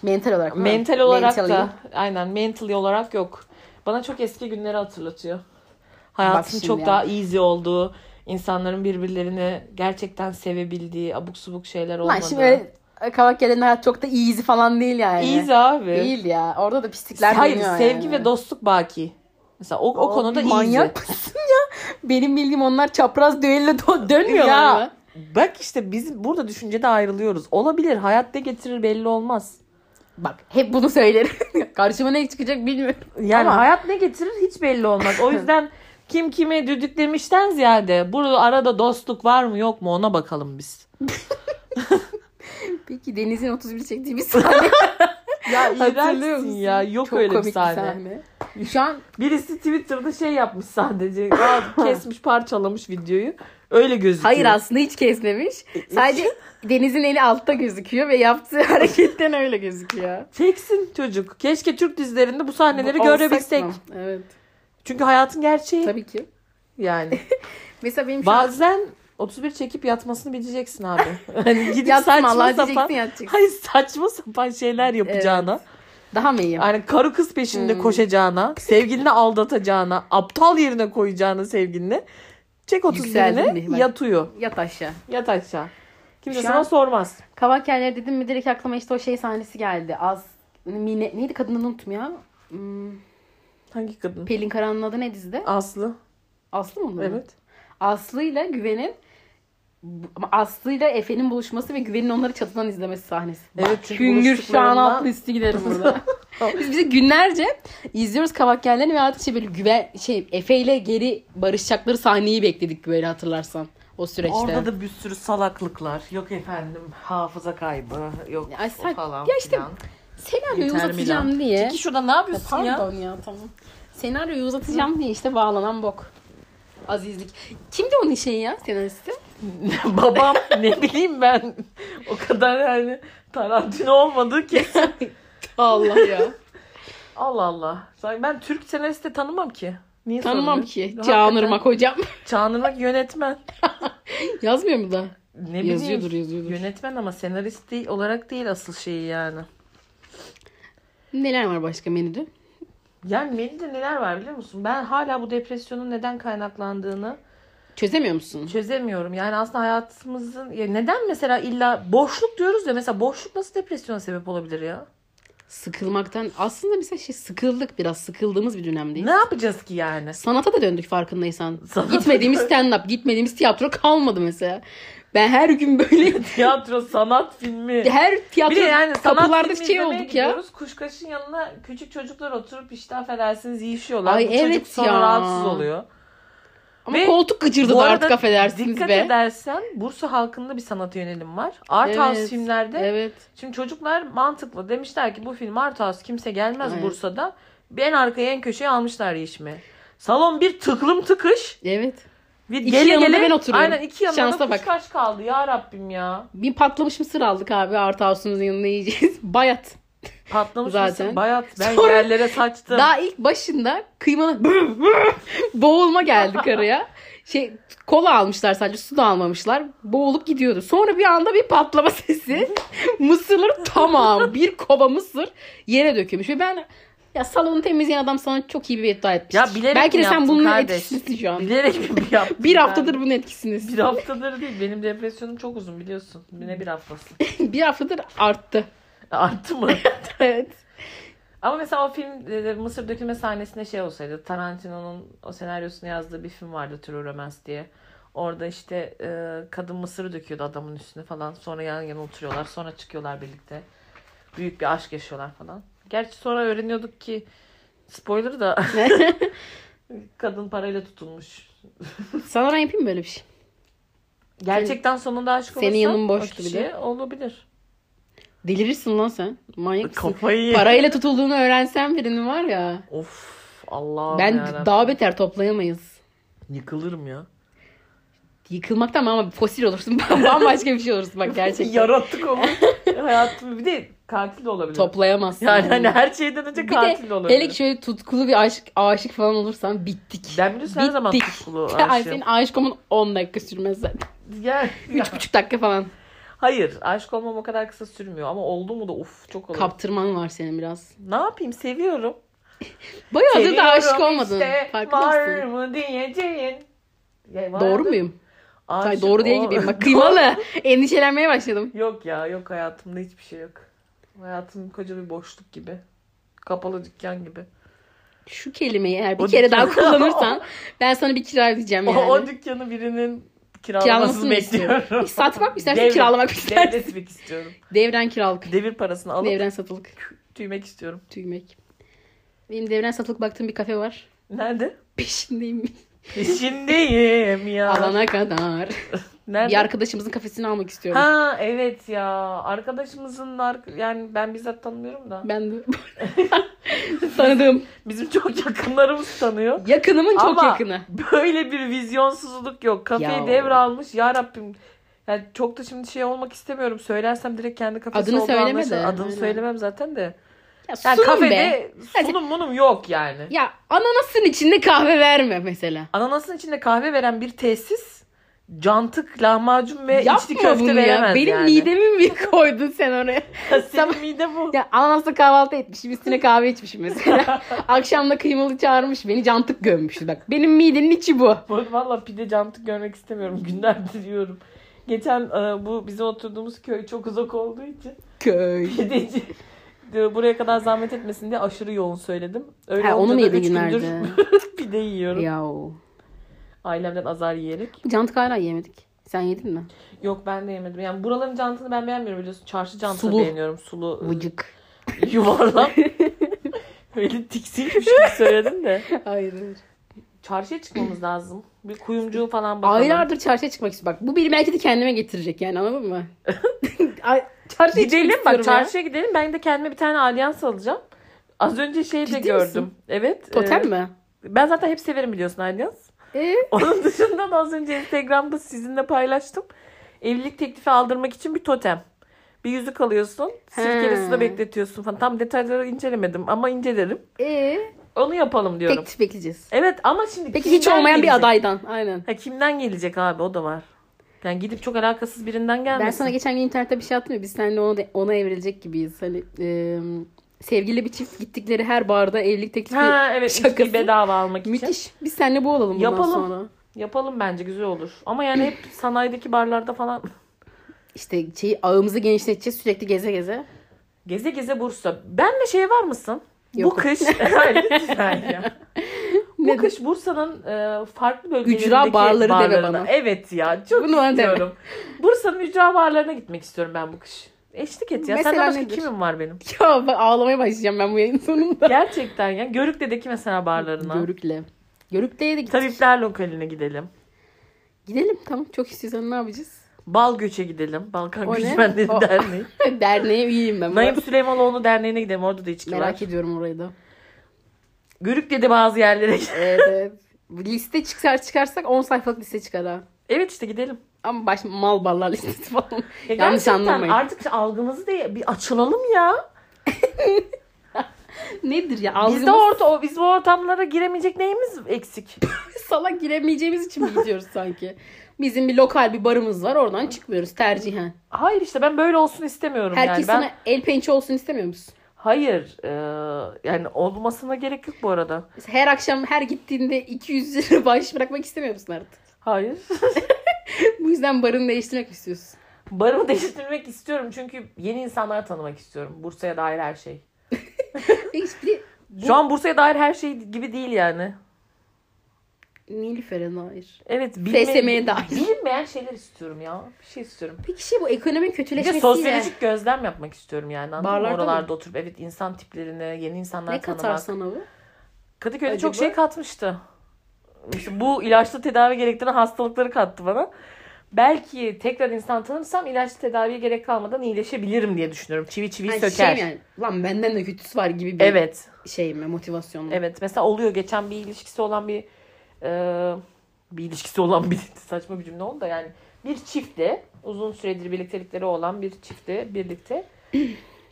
B: Mental olarak. değil mi?
A: Mental olarak
B: Mentally.
A: da aynen mentally olarak yok. Bana çok eski günleri hatırlatıyor.
B: Bak
A: Hayatın
B: şimdi
A: çok
B: ya.
A: daha easy olduğu, insanların birbirlerini gerçekten sevebildiği, abuk subuk şeyler olmadığı.
B: Lan şimdi öyle kavak yerlerinde hayat çok da easy falan değil yani.
A: Easy abi.
B: Değil ya. Orada da pislikler
A: Hayır,
B: dönüyor
A: sevgi
B: yani.
A: ve dostluk baki. Mesela o, o
B: Oğlum,
A: konuda easy.
B: Manyak mısın ya? Benim bildiğim onlar çapraz düello do- dönmüyorlar mı?
A: Ya bak işte biz burada düşüncede ayrılıyoruz. Olabilir. Hayat ne getirir belli olmaz.
B: Bak hep bunu söylerim. Karşıma ne çıkacak bilmiyorum.
A: Yani
B: Ama-
A: hayat ne getirir hiç belli olmaz. O yüzden kim kimi düdüklemişten ziyade burada arada dostluk var mı yok mu ona bakalım biz.
B: Peki Deniz'in 31 çektiği bir sahne. ya
A: Hatırlıyor musun ya? Yok
B: Çok
A: öyle bir
B: komik
A: sahne.
B: Şu an
A: Birisi Twitter'da şey yapmış sadece. Aa, kesmiş parçalamış videoyu. Öyle gözüküyor. E,
B: hayır aslında hiç kesmemiş. Sadece Deniz'in eli altta gözüküyor ve yaptığı hareketten öyle gözüküyor.
A: Çeksin çocuk. Keşke Türk dizilerinde bu sahneleri
B: Bu
A: görebilsek.
B: olsak mı? Evet.
A: Çünkü hayatın gerçeği
B: Tabii ki.
A: yani.
B: Mesela benim şu an
A: Bazen 31 çekip yatmasını bileceksin abi. Hani gidip
B: Yatma
A: saçma
B: Allah
A: sapan.
B: diyeceksin yatacaksın.
A: Hayır saçma sapan şeyler yapacağına.
B: Daha mı iyi?
A: Yani karı kız peşinde
B: Hmm.
A: koşacağına, sevgilini aldatacağına, aptal yerine koyacağına sevgilini. Çek 30
B: Yükseldim bir
A: birini
B: bak.
A: yat uyu.
B: Yat aşağı.
A: Yat aşağı. Kimse
B: Şu
A: sana
B: an-
A: sormaz.
B: Kavak yerleri dedim mi direkt aklıma işte o şey sahnesi geldi. Az Mine, neydi kadının unuttum ya. Hmm,
A: Hangi kadın?
B: Pelin Karan'ın adı ne dizide?
A: Aslı.
B: Aslı mı? onun adı?
A: Evet.
B: Aslı ile Güven'in Ama Aslı ile Efe'nin buluşması ve Güven'in onları çatıdan izlemesi sahnesi.
A: Evet, çünkü
B: Hüngür şu an
A: buluştuklarında-
B: altlı üstü giderim burada. Biz bize günlerce izliyoruz kabak yerlerini ve artık şey böyle güven şey Efe ile geri barışacakları sahneyi bekledik böyle hatırlarsan o süreçte.
A: Orada da bir sürü salaklıklar. Yok efendim hafıza kaybı. Yok
B: Ya sen-
A: o falan
B: ya işte
A: filan.
B: Senaryoyu
A: Inter
B: uzatacağım
A: Milan.
B: diye.
A: Çekil şurada ne yapıyorsun ya?
B: Pardon ya tamam. Senaryoyu uzatacağım diye işte bağlanan bok. Azizlik. Kimdi onun şeyi ya senaristi?
A: Babam ne bileyim ben. O kadar yani Tarantino olmadığı ki.
B: Allah ya.
A: Allah Allah. Sanki Ben Türk senarist de tanımam ki. Niye
B: Tanımam
A: soruluyor?
B: ki.
A: Hakikaten.
B: Çağınırmak hocam.
A: Çağınırmak yönetmen.
B: Yazmıyor mu da?
A: Ne
B: Yazıyordur
A: bileyim.
B: yazıyordur.
A: Yönetmen ama senarist değil, olarak değil asıl şeyi yani.
B: Neler var başka menüde?
A: Yani menüde neler var biliyor musun? Ben hala bu depresyonun neden kaynaklandığını
B: Çözemiyor musun?
A: çözemiyorum. Yani aslında hayatımızın ya neden mesela illa boşluk diyoruz ya mesela boşluk nasıl depresyona sebep olabilir ya?
B: Sıkılmaktan aslında mesela şey sıkıldık biraz sıkıldığımız bir dönemdeyiz.
A: Ne yapacağız ki yani?
B: Sanata da döndük farkındaysan.
A: Sanata
B: gitmediğimiz stand up, gitmediğimiz tiyatro kalmadı mesela. Ben her gün böyle
A: Tiyatro, sanat filmi.
B: her
A: Bir de
B: tiyatro
A: yani sanat
B: kapılarda
A: filmi
B: şey
A: izlemeye
B: olduk ya.
A: gidiyoruz. Kuşkaşın yanına küçük çocuklar oturup işte affedersiniz yiyişiyorlar.
B: Ay
A: Bu çocuk
B: evet
A: sonra
B: ya.
A: rahatsız oluyor.
B: Ama
A: Ve
B: koltuk gıcırdı
A: Bu
B: da
A: arada
B: artık affedersiniz
A: Dikkat
B: be.
A: edersen Bursa halkında bir sanata yönelim var. Art house
B: Evet,
A: filmlerde.
B: Evet.
A: Şimdi çocuklar mantıklı. Demişler ki bu film art house kimse gelmez
B: Evet.
A: Bursa'da. Bir en arkaya en köşeye almışlar yeşimi. Salon bir tıklım tıkış.
B: Evet.
A: Ve
B: İki yanında ben oturuyorum.
A: Aynen iki yanında
B: Şansa
A: da
B: bak.
A: kuşkaş kaldı ya Rabbim ya.
B: Bir patlamış mısır aldık abi Art House'umuzun yanına yiyeceğiz. Bayat.
A: Patlamış
B: Zaten.
A: mısın? Bayat. Ben
B: Sonra-
A: yerlere saçtım.
B: Daha ilk başında kıymanın boğulma geldi karıya. Şey kola almışlar sadece su da almamışlar. Boğulup gidiyordu. Sonra bir anda bir patlama sesi. Mısırları tamam bir kova mısır yere dökülmüş. Ve ben ya salonu temizleyen adam sana çok iyi bir beddua etmiş.
A: Ya bilerek
B: Belki de
A: mi
B: sen
A: yaptın
B: bunun
A: kardeş?
B: etkisindesin şu an.
A: Bilerek mi bir yaptım
B: Bir
A: ben?
B: haftadır bunun etkisindesin.
A: Bir haftadır değil. Benim depresyonum çok uzun biliyorsun. Ne bir haftası.
B: bir haftadır arttı.
A: Arttı mı?
B: evet.
A: Ama mesela o film e, Mısır dökülme sahnesinde şey olsaydı Tarantino'nun o senaryosunu yazdığı bir film vardı True Romance diye. Orada işte e, kadın mısırı döküyordu adamın üstüne falan. Sonra yan yana oturuyorlar. Sonra çıkıyorlar birlikte. Büyük bir aşk yaşıyorlar falan. Gerçi sonra öğreniyorduk ki spoiler da kadın parayla tutulmuş.
B: Sana ben yapayım mı böyle bir şey?
A: Gerçekten sonunda aşk olursa
B: senin yanın
A: o
B: boştu
A: kişiye
B: bile.
A: olabilir.
B: Delirirsin lan sen. Manyak mısın?
A: Kafayı.
B: Parayla tutulduğunu öğrensen birinin var ya.
A: Of Allah'ım
B: Ben
A: yarabbim.
B: daha beter toplayamayız.
A: Yıkılırım ya.
B: Yıkılmaktan mı ama fosil olursun. Bambaşka bir şey olursun bak gerçekten.
A: Yarattık onu. Hayatım bir de katil de olabilir.
B: Toplayamazsın.
A: yani hani her şeyden önce
B: bir
A: katil de
B: de
A: olabilir.
B: hele ki şöyle tutkulu bir aşık, aşık falan olursan bittik.
A: ben biliyorsun her zaman
B: Bittik.
A: tutkulu
B: Ay
A: aşığım.
B: senin aşık olman 10 dakika sürmez zaten.
A: Yani, ya,
B: 3,5 dakika falan.
A: hayır aşk olmam o kadar kısa sürmüyor ama oldu mu da uf çok olur.
B: Kaptırman var senin biraz.
A: ne yapayım seviyorum.
B: Bayağıdır da aşık
A: Seviyorum
B: olmadın.
A: işte,
B: Farkında
A: Var
B: mısın?
A: mı diyeceğin. Ya, var
B: Doğru
A: mı?
B: muyum?
A: Aşık
B: Ay, doğru diye
A: ol-
B: gibiyim. Bak kıymalı. Endişelenmeye başladım.
A: Yok ya yok hayatımda hiçbir şey yok. Hayatım koca bir boşluk gibi. Kapalı dükkan gibi.
B: Şu kelimeyi eğer bir
A: O
B: kere daha
A: dükkan-
B: kullanırsan ben sana bir kira ödeyeceğim yani.
A: O, o dükkanı birinin kiralamasını
B: Kiralamasını istiyorum.
A: bekliyorum.
B: Satmak mı istersin,
A: Devret-
B: kiralamak mı istersin?
A: Devretmek istiyorum.
B: Devren kiralık.
A: Devir parasını alıp
B: Devren satılık.
A: tüymek istiyorum.
B: Tüymek. Benim devren satılık baktığım bir kafe var.
A: Nerede?
B: Peşindeyim.
A: Peşindeyim ya.
B: Alana kadar.
A: Nerede?
B: Bir arkadaşımızın kafesini almak istiyorum.
A: Ha evet ya. Arkadaşımızın ark- yani ben bizzat tanımıyorum da.
B: Ben de tanıdığım
A: Bizim çok yakınlarımız tanıyor.
B: yakınımın çok
A: Ama
B: yakını.
A: böyle bir vizyonsuzluk yok. Kafeyi
B: Ya.
A: devralmış. Ya Rabbim. Yani çok da şimdi şey olmak istemiyorum. Söylersem direkt kendi kafesi
B: Adını
A: olduğu
B: söyleme
A: anlaşılır.
B: de.
A: Adını
B: Aynen.
A: söylemem zaten de.
B: Ya
A: Yani
B: sunum be.
A: kafede
B: Hadi.
A: sunum munum yok yani.
B: Ya ananasın içinde kahve verme mesela.
A: Ananasın içinde kahve veren bir tesis cantık, lahmacun ve içli
B: Yapma
A: köfte
B: bunu ya.
A: veremez
B: Benim
A: yani.
B: midemi mi koydun sen oraya?
A: Senin mide bu.
B: Ya ananasla kahvaltı etmişim üstüne kahve içmişim mesela. Akşam da kıymalı çağırmış beni cantık gömmüştü bak. Benim midenin içi bu.
A: Bu arada Valla pide cantık görmek istemiyorum. Günlerdir yiyorum. Geçen e, bu bizim oturduğumuz köy çok uzak olduğu için
B: Köy.
A: pideci e, buraya kadar zahmet etmesin diye aşırı yoğun söyledim. Öyle
B: Ha, onu
A: olunca
B: mu
A: da
B: yedin
A: üç gündür
B: günlerde?
A: pide yiyorum.
B: Yahu.
A: Ailemden azar yiyerek.
B: Cantık hala yemedik. Sen yedin mi?
A: Yok ben de yemedim. Yani buraların cantını ben beğenmiyorum biliyorsun. Çarşı cantını
B: Sulu.
A: beğeniyorum.
B: Ee,
A: Sulu, e,
B: Vıcık.
A: yuvarlak. Böyle tiksinmiş gibi söyledin de.
B: Hayır hayır.
A: Çarşıya çıkmamız lazım. Bir kuyumcu falan bakalım.
B: Aylardır çarşıya çıkmak istiyorum. Bak bu beni belki de kendime getirecek yani anladın mı? Ay, çarşıya
A: Gidelim
B: çıkmak
A: bak
B: istiyorum ya.
A: çarşıya gidelim. Ben de kendime bir tane alyans alacağım. Az önce şey de
B: Ciddi
A: gördüm.
B: misin?
A: Evet.
B: Totem
A: e,
B: mi?
A: Ben zaten hep severim biliyorsun alyans.
B: Ee?
A: Onun dışında da az önce Instagram'da sizinle paylaştım. Evlilik teklifi aldırmak için bir totem. Bir yüzük alıyorsun. Sirkeli
B: He.
A: suda bekletiyorsun falan. Tam detayları incelemedim ama incelerim.
B: Ee?
A: Onu yapalım diyorum.
B: Teklif bekleyeceğiz.
A: Evet ama şimdi
B: Peki hiç
A: kimden
B: olmayan
A: gelecek?
B: bir adaydan. Aynen.
A: Ha, kimden gelecek abi o da var. Yani gidip çok alakasız birinden gelmesin.
B: Ben sana geçen gün internette bir şey attım ya biz seninle ona, ona evrilecek gibiyiz. Hani e, sevgili bir çift gittikleri her barda evlilik teklifi
A: Ha evet içkiyi
B: şakası.
A: bedava almak için.
B: Müthiş. Biz seninle bu olalım bundan
A: Yapalım.
B: sonra.
A: Yapalım bence güzel olur. Ama yani hep sanayideki barlarda falan
B: İşte şeyi ağımızı genişleteceğiz sürekli geze geze.
A: geze geze Bursa. Benle şey var mısın? Bu
B: Yok.
A: kış Hayır, lütfen ya. Bu
B: Neden?
A: kış Bursa'nın e, farklı bölgelerindeki
B: Ücra barları deme
A: barlarına-
B: bana.
A: Evet ya çok
B: Bunu bana deme.
A: istiyorum. Bursa'nın ücra barlarına gitmek istiyorum ben bu kış. Eşlik et ya.
B: Mesela
A: Senden başka
B: nedir?
A: kimim var benim?
B: Ya bak ağlamaya başlayacağım ben bu yayın sonunda.
A: Gerçekten ya. Görükle'deki mesela barlarına.
B: Görükle. Görükle'ye de git.
A: Tabipler lokaline gidelim.
B: Gidelim tamam çok istiyorsan ne yapacağız?
A: Bal Göç'e gidelim. Balkan
B: O ne?
A: Göçmenleri
B: O-
A: Derneği.
B: Derneğe üyeyim ben.
A: Naim Süleymanoğlu Derneği'ne gidelim. Orada da içki var.
B: Merak ediyorum orayı da.
A: Görük dedi bazı yerlere.
B: Evet evet. Bu Liste çıkar çıkarsak 10 sayfalık liste çıkar ha.
A: evet işte gidelim.
B: Ama baş mal barlar listesi falan.
A: Ya
B: Yanlış
A: gerçekten
B: anlamayın.
A: Artık algımızı da bir açılalım ya.
B: Nedir ya?
A: Biz
B: Algımız
A: de orta, o, biz bu ortamlara giremeyecek neyimiz eksik?
B: salak giremeyeceğimiz için mi gidiyoruz sanki? Bizim bir lokal bir barımız var. Oradan çıkmıyoruz tercihen.
A: Hayır işte ben böyle olsun istemiyorum
B: Herkes
A: yani. Ben,
B: sana el pençe olsun istemiyor musun?
A: Hayır. e, yani olmasına gerek yok bu arada.
B: Mesela Her akşam her gittiğinde 200 lira bağış bırakmak istemiyor musun artık?
A: Hayır.
B: Bu yüzden barını değiştirmek istiyorsun.
A: Barımı değiştirmek istiyorum çünkü yeni insanlar tanımak istiyorum. Bursa'ya dair her şey.
B: Peki Hiçbir
A: Şu an Bursa'ya dair her şey gibi değil yani.
B: Nilüfer'e dair.
A: Evet,
B: FSM'ye dair.
A: bilinmeyen şeyler istiyorum ya. Bir şey istiyorum.
B: Peki şey bu ekonominin
A: Bir de
B: kötüleşmesiyle.
A: sosyolojik gözlem yapmak istiyorum yani. anladın mı?
B: Barlarda
A: Oralarda oturup evet insan tiplerini, yeni insanlar
B: Ne katar
A: tanımak.
B: sana bu?
A: Kadıköy'de
B: Acaba?
A: çok şey katmıştı. İşte bu ilaçlı tedavi gerektiren hastalıkları kattı bana. Belki tekrar insan tanırsam ilaçlı tedaviye gerek kalmadan iyileşebilirim diye düşünüyorum. Çivi çiviyi
B: Yani Şey
A: söker.
B: mi yani, lan benden de kötüsü var gibi bir
A: Evet.
B: şey mi? Motivasyon mu?
A: Evet mesela oluyor geçen bir ilişkisi olan bir e, bir ilişkisi olan bir saçma bir cümle oldu da yani bir çiftle uzun süredir birliktelikleri olan bir çiftle birlikte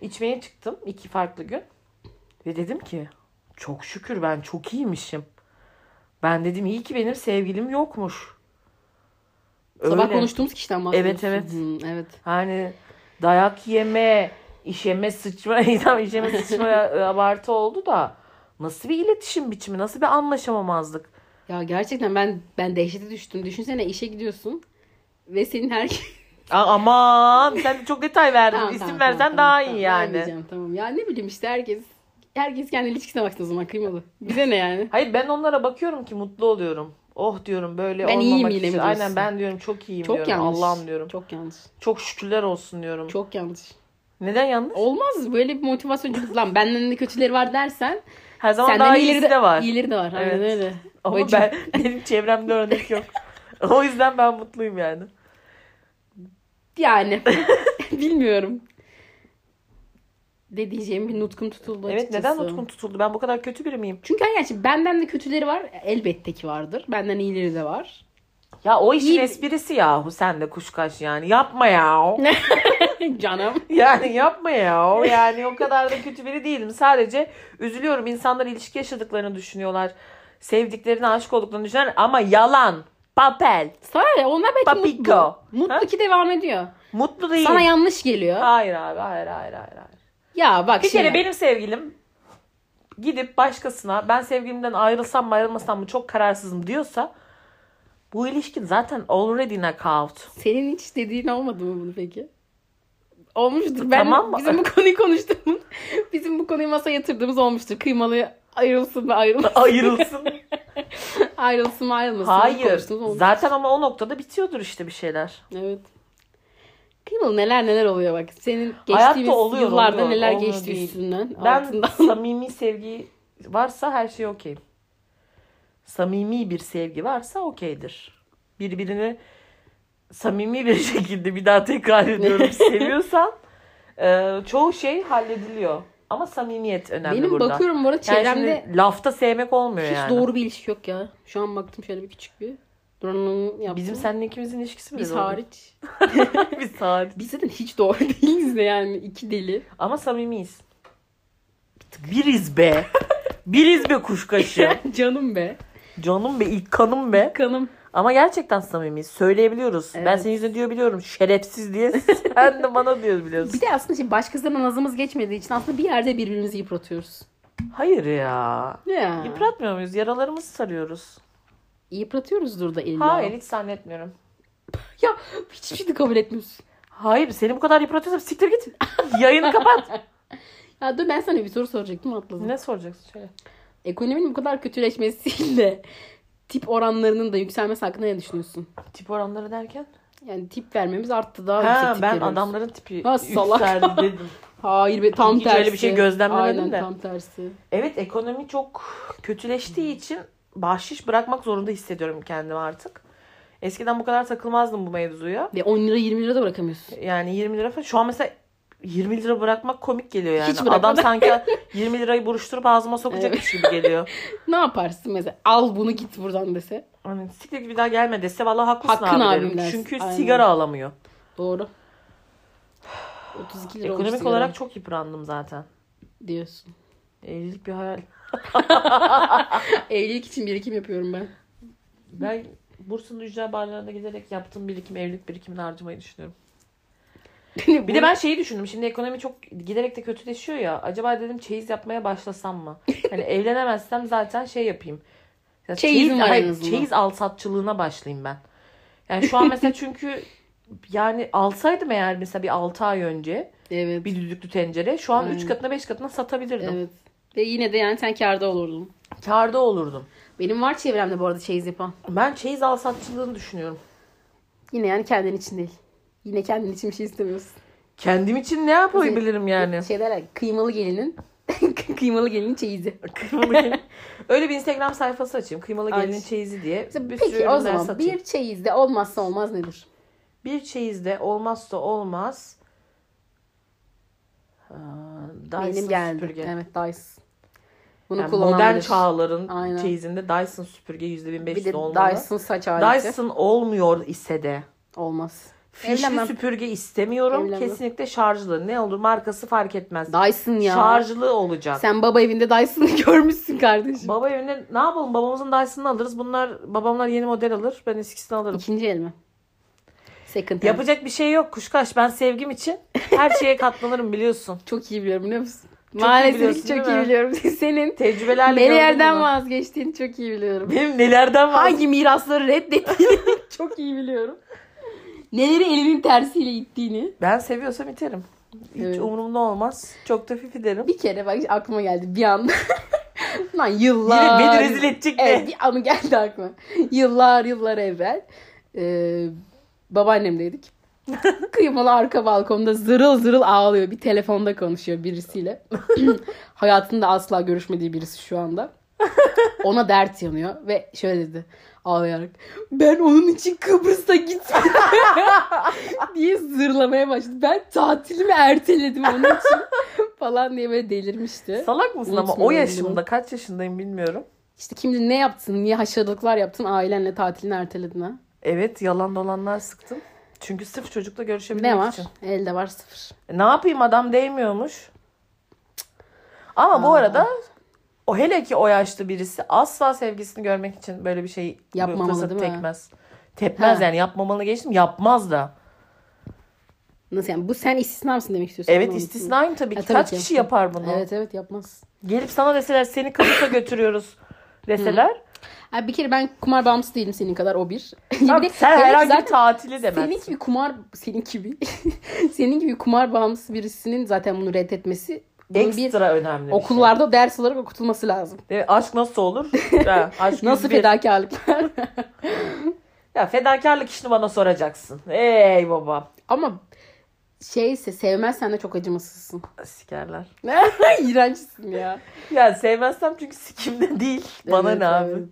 A: içmeye çıktım iki farklı gün ve dedim ki çok şükür ben çok iyiymişim. Ben dedim iyi ki benim sevgilim yokmuş.
B: Sabah
A: Öyle.
B: konuştuğumuz kişiden bahsediyorsun.
A: Evet, evet.
B: Hı, evet.
A: Hani dayak yeme, işeme sıçma, tam işeme sıçma e, abartı oldu da nasıl bir iletişim biçimi, nasıl bir anlaşamamazlık.
B: Ya gerçekten ben ben dehşete düştüm. Düşünsene işe gidiyorsun ve senin her
A: Aa, aman sen de çok detay verdin.
B: Tamam,
A: İsim
B: tamam,
A: versen
B: tamam,
A: daha
B: tamam, tamam.
A: iyi yani.
B: Vermeyeceğim, Tamam. Ya ne bileyim işte herkes herkes kendi ilişkisine baksın o zaman kıymalı. Bize ne yani?
A: Hayır ben onlara bakıyorum ki mutlu oluyorum. Oh diyorum böyle
B: Ben
A: olmamak
B: iyiyim yine mi
A: için.
B: diyorsun?
A: Aynen ben diyorum çok iyiyim
B: Çok
A: diyorum.
B: yanlış.
A: Allah'ım diyorum. Çok,
B: Çok yanlış.
A: şükürler olsun diyorum.
B: Çok yanlış.
A: Neden yanlış?
B: Olmaz böyle bir motivasyon. Çünkü lan benden de kötüleri var dersen
A: Her zaman
B: senden
A: daha
B: iyileri
A: iyisi
B: de,
A: de, var.
B: iyileri de var. Aynen
A: Evet.
B: öyle.
A: Ama
B: Bacım.
A: ben, benim çevremde örnek yok. o yüzden ben mutluyum yani.
B: Yani bilmiyorum. Ne diyeceğim bir nutkum tutuldu
A: Evet
B: açıkçası.
A: neden Utkun tutuldu? Ben bu kadar kötü biri miyim?
B: Çünkü hani gerçi benden de kötüleri var. Elbette ki vardır. Benden iyileri de var.
A: Ya o işin
B: İyi-
A: esprisi yahu sen de kuşkaş yani. Yapma ya.
B: Canım.
A: Yani yapma ya. Yani o kadar da kötü biri değilim. Sadece üzülüyorum. İnsanlar ilişki yaşadıklarını düşünüyorlar. Sevdiklerine aşık olduklarını düşünüyorlar. Ama yalan. Papel.
B: Sana ne? Onlar belki
A: Papiko.
B: mutlu. Mutlu
A: Ha?
B: ki devam ediyor.
A: Mutlu değil.
B: Sana yanlış geliyor.
A: Hayır abi hayır hayır hayır. hayır.
B: Ya bak şey,
A: Bir
B: şimdi.
A: kere benim sevgilim gidip başkasına ben sevgilimden ayrılsam mı ayrılmasam mı çok kararsızım diyorsa bu ilişkin zaten already knockout.
B: Senin hiç dediğin olmadı mı bunu peki? Olmuştur. Ben,
A: Tamam mı?
B: Bizim bu konuyu konuştuğumuz, bizim bu konuyu masaya yatırdığımız olmuştur. Kıymalı ayrılsın ve ayrılmasın.
A: Ayrılsın.
B: Ayrılsın mı ayrılmasın mı
A: Hayır.
B: konuştunuz mu?
A: Zaten ama o noktada bitiyordur işte bir şeyler.
B: Evet. Kıymalı neler neler oluyor bak. Senin
A: Hayatta
B: geçtiğimiz
A: oluyor,
B: yıllarda
A: oluyor.
B: neler
A: Olmuyor
B: geçti
A: değil.
B: üstünden.
A: Ben
B: altından.
A: samimi sevgi varsa her şey okey. Samimi bir sevgi varsa okeydir. Birbirini samimi bir şekilde bir daha tekrar ediyorum seviyorsan e, çoğu şey hallediliyor. Ama samimiyet önemli
B: Benim
A: burada.
B: bakıyorum bu arada
A: Yani
B: çevremde
A: şimdi lafta sevmek olmuyor
B: hiç
A: yani.
B: doğru bir ilişki yok ya. Şu an baktım şöyle bir küçük bir. Duran'ın yaptım.
A: Bizim seninle ikimizin ilişkisi mi?
B: biz hariç.
A: Biz hariç.
B: Biz zaten hiç doğru değiliz de yani. iki deli.
A: Ama samimiyiz. Biriz be. Biriz be kuşkaşı.
B: Canım be.
A: Canım be, ilk Şey. kanım be.
B: Kanım.
A: Ama gerçekten samimiyiz. Söyleyebiliyoruz. Ben
B: Evet.
A: senin yüzüne diyor biliyorum. Şerefsiz diye sen de bana diyor biliyorsun.
B: Bir de aslında şimdi başkasına nazımız geçmediği için aslında bir yerde birbirimizi yıpratıyoruz.
A: Hayır ya.
B: Ya.
A: Yıpratmıyor muyuz? Yaralarımızı sarıyoruz.
B: Yıpratıyoruzdur da illa.
A: Hayır hiç zannetmiyorum.
B: Ya hiçbir şey de kabul etmiyorsun.
A: Hayır seni bu kadar yıpratıyorsam siktir git. Yayını kapat.
B: Ya dur ben sana bir soru soracaktım atladım.
A: ne soracaksın şöyle?
B: Ekonominin bu kadar kötüleşmesiyle tip oranlarının da yükselmesi hakkında ne düşünüyorsun?
A: Tip oranları derken?
B: Yani tip vermemiz arttı daha yüksek
A: Ha,
B: tip
A: ben
B: veriyoruz.
A: adamların tipi
B: Ha, salak.
A: yükseldi dedim.
B: Hayır be tam
A: Hiç
B: tersi.
A: öyle bir şey gözlemlemedim
B: Aynen,
A: de.
B: tam tersi.
A: Evet ekonomi çok kötüleştiği için bahşiş bırakmak zorunda hissediyorum kendimi artık. Eskiden bu kadar takılmazdım bu mevzuya.
B: Ve 10 lira 20 lira da bırakamıyorsun.
A: Yani 20 lira falan. Şu an mesela 20 lira bırakmak komik geliyor yani.
B: Hiç bırakmadım.
A: Adam sanki 20 lirayı buruşturup ağzıma sokacakmış gibi geliyor.
B: Ne yaparsın mesela? Al bunu git buradan dese.
A: Hani siktir git bir daha gelme dese valla haklısın
B: Hakkın
A: abi
B: abim
A: derim.
B: dersin.
A: Çünkü
B: Aynen.
A: sigara alamıyor.
B: Doğru. 32 lira olmuş
A: Ekonomik
B: sigara
A: olarak çok yıprandım zaten.
B: diyorsun.
A: Evlilik bir hayal.
B: Evlilik için birikim yapıyorum ben.
A: Ben Bursa'nın ücra barlarına giderek yaptığım birikim, evlilik birikimini harcamayı düşünüyorum. Bir de ben şeyi düşündüm. Şimdi ekonomi çok giderek de kötüleşiyor ya. Acaba dedim çeyiz yapmaya başlasam mı? Hani evlenemezsem zaten şey yapayım. Ya
B: Çeyizim var en
A: hayır,
B: azından.
A: çeyiz alsatçılığına başlayayım ben. Yani şu an mesela çünkü yani alsaydım eğer mesela bir 6 ay önce
B: Evet.
A: bir düdüklü tencere şu an
B: Aynen.
A: 3 katına 5 katına satabilirdim.
B: Hmm. Evet. Ve yine de yani sen kârda olurdun.
A: Kârda olurdum.
B: Benim var çevremde bu arada çeyiz yapan.
A: Ben çeyiz alsatçılığını düşünüyorum.
B: Yine yani kendin için değil. Yine kendin için bir şey istemiyorsun.
A: Kendim için ne yapabilirim yani?
B: Şey derler kıymalı gelinin kıymalı gelinin çeyizi.
A: Kıymalı gelin. Öyle bir Instagram sayfası açayım. Kıymalı
B: Aç.
A: gelinin çeyizi diye. Bir sürü
B: Peki
A: ürünler
B: o zaman
A: satayım.
B: bir çeyizde olmazsa olmaz nedir?
A: Bir çeyizde olmazsa olmaz. Aa, Dyson
B: Benim geldi.
A: süpürge.
B: Evet Dyson. Bunu
A: Yani
B: kullanabilir.
A: modern çağların
B: Aynen.
A: çeyizinde Dyson süpürge %1500
B: Bir de
A: olmalı. Dyson,
B: Dyson saç aleti.
A: olmuyor ise de
B: Olmaz.
A: fişli
B: Evlenmem.
A: süpürge istemiyorum.
B: Evlenmem.
A: Kesinlikle şarjlı. Ne olur markası fark etmez.
B: Dyson ya.
A: Şarjlı olacak.
B: Sen baba evinde Dyson'ı görmüşsün kardeşim.
A: Baba evine ne yapalım? Babamızın Dyson'ını alırız. Bunlar babamlar yeni model alır. Ben eskisini alırım.
B: İkinci el mi? Second hand.
A: Yapacak bir şey yok kuşkaş. Ben sevgim için her şeye katlanırım biliyorsun.
B: Çok iyi biliyorum biliyor musun?
A: iyi
B: Maalesef
A: biliyorsun,
B: ki çok
A: değil
B: iyi
A: mi?
B: biliyorum. Senin
A: Tecrübelerle gördün
B: nelerden
A: bunu.
B: vazgeçtiğini çok iyi biliyorum.
A: Benim nelerden var?
B: Hangi mirasları reddettiğini çok iyi biliyorum. Neleri elinin tersiyle ittiğini.
A: Ben seviyorsam iterim. Hiç
B: Evet.
A: umurumda olmaz. Çok da fif ederim.
B: Bir kere bak aklıma geldi bir anda. Lan
A: Biri
B: yıllar.
A: beni rezil edecek
B: Evet
A: de.
B: bir anı geldi aklıma. Yıllar yıllar evvel. E, babaannemdeydik. Kıymalı arka balkonda zırıl zırıl ağlıyor. Bir telefonda konuşuyor birisiyle. Hayatında asla görüşmediği birisi şu anda. Ona dert yanıyor ve şöyle dedi ağlayarak. Ben onun için Kıbrıs'a gitmedim diye zırlamaya başladı. Ben tatilimi erteledim onun için falan diye böyle delirmişti.
A: Salak mısın ama o
B: Unutmuyorum
A: yaşımda
B: bunu.
A: kaç yaşındayım bilmiyorum.
B: İşte kimdi ne yaptın? Niye haşarılıklar yaptın? Ailenle tatilini erteledin ha?
A: Evet yalan dolanlar sıktım. Çünkü sırf çocukla görüşebilmek
B: Ne var?
A: için.
B: Elde var sıfır.
A: E, Ne yapayım adam değmiyormuş. Ama bu arada o hele ki o yaşlı birisi asla sevgisini görmek için böyle bir şey bu
B: Yapmamalı,
A: fırsatı
B: değil mi?
A: tekmez. Tepmez
B: Ha.
A: yani yapmamalı geçtim yapmaz da.
B: Nasıl yani? Bu sen istisna mısın demek istiyorsun?
A: Evet
B: Anlamadım.
A: istisnayım tabii ki.
B: Ha, E, tabii
A: Kaç
B: ki.
A: kişi yapar bunu?
B: Evet evet yapmaz.
A: Gelip sana deseler seni Kıbrıs'a götürüyoruz deseler.
B: Ha, bir kere ben kumar bağımlısı değilim senin kadar o bir.
A: Tamam,
B: Bir de-
A: sen
B: evet,
A: herhangi bir
B: zaten
A: tatili demezsin.
B: Senin gibi kumar senin gibi senin gibi kumar bağımlısı birisinin zaten bunu reddetmesi Bunun bir
A: Ekstra önemli bir şey.
B: okullarda ders olarak okutulması lazım.
A: Değil mi? Aşk nasıl olur? Ha, aşk
B: Nasıl
A: yüz bir.
B: fedakarlık?
A: Ya fedakarlık işini bana soracaksın. Ey baba.
B: Ama şeyse sevmezsen de çok acımasızsın.
A: Sikerler.
B: İğrençsin ya.
A: Ya sevmezsem çünkü sikimde değil. Bana
B: Evet,
A: ne abi?
B: evet.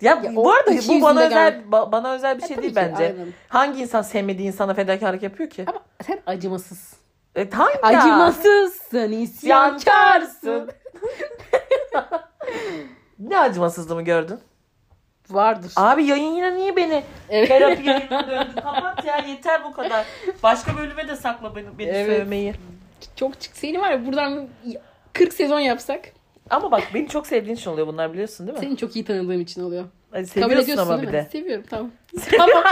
A: Ya,
B: Ya
A: bu
B: o
A: arada
B: iki
A: bu
B: yüzlü
A: bana
B: de
A: özel
B: gel-
A: ba- bana özel bir şey
B: E, tabii
A: değil
B: ki,
A: bence.
B: aynen.
A: Hangi insan sevmediği insana fedakarlık yapıyor ki?
B: Ama sen acımasız.
A: E, hangi ya?
B: Acımasızsın, isyankarsın.
A: Ne acımasızlığımı gördün?
B: Vardır.
A: Abi yayın yine niye beni
B: Evet.
A: terapi yayınına döndü? Kapat ya yeter bu kadar. Başka bölüme de sakla beni, beni
B: Evet.
A: sövmeyi.
B: Çok çık. Seni var ya buradan 40 sezon yapsak.
A: Ama bak beni çok sevdiğin için oluyor bunlar biliyorsun değil mi?
B: Seni çok iyi tanıdığım için oluyor.
A: Ay,
B: Kabul
A: seviyorsun
B: ediyorsun
A: ama
B: değil
A: bir
B: mi?
A: de.
B: Seviyorum tamam. tamam.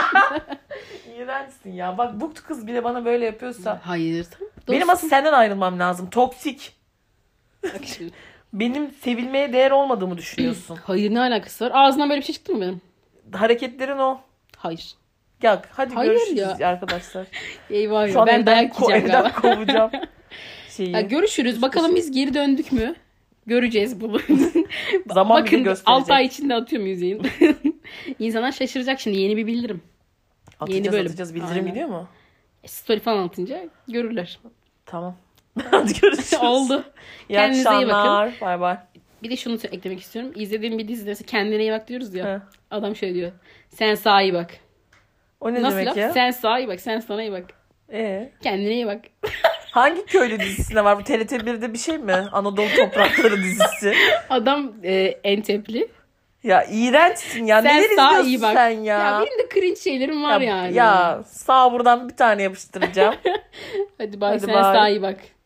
A: İğrençsin ya. Bak bu kız bile bana böyle yapıyorsa.
B: Hayır tamam.
A: Benim asıl senden ayrılmam lazım. Toksik.
B: Dostum.
A: Benim sevilmeye değer olmadığımı düşünüyorsun.
B: Hayır ne alakası var? Ağzından böyle bir şey çıktı mı benim?
A: Hareketlerin o.
B: Hayır.
A: Ya hadi
B: Hayır
A: görüşürüz arkadaşlar.
B: Eyvah
A: Şu an
B: ya. Ben
A: evden,
B: dayak
A: ko-
B: yiyeceğim
A: evden
B: galiba.
A: kovacağım. Şeyi.
B: Ya görüşürüz. Bakalım biz geri döndük mü? Göreceğiz bunu.
A: Zaman bizi
B: Bakın 6
A: gösterecek.
B: ay içinde atıyorum yüzeyin. İnsanlar şaşıracak şimdi yeni bir bildirim.
A: atacağız,
B: yeni bölüm.
A: atacağız. Bildirim
B: Aynen.
A: gidiyor mu?
B: E, Story falan atınca görürler.
A: Tamam. hadi görüşürüz.
B: Oldu.
A: İyi
B: Kendinize iyi bakın.
A: akşamlar. Bay bay.
B: Bir de şunu sö- eklemek istiyorum. İzlediğim bir dizide mesela kendine iyi bak diyoruz ya.
A: He.
B: Adam şöyle diyor. Sen sağa iyi bak.
A: O ne
B: Nasıl
A: demek
B: laf?
A: ya?
B: Sen sağa iyi bak. Sen sana iyi bak.
A: Ee,
B: Kendine iyi bak.
A: hangi köylü dizisinde var bu? TRT 1'de bir şey mi? Anadolu Toprakları dizisi.
B: Adam e, entepli.
A: Ya iğrençsin ya.
B: sen
A: Neler
B: sağa
A: izliyorsun
B: iyi bak.
A: sen ya?
B: benim de cringe şeylerim var
A: ya,
B: yani.
A: Ya sağ buradan bir tane yapıştıracağım.
B: Hadi bay
A: Hadi
B: sen
A: bay.
B: sağa iyi bak.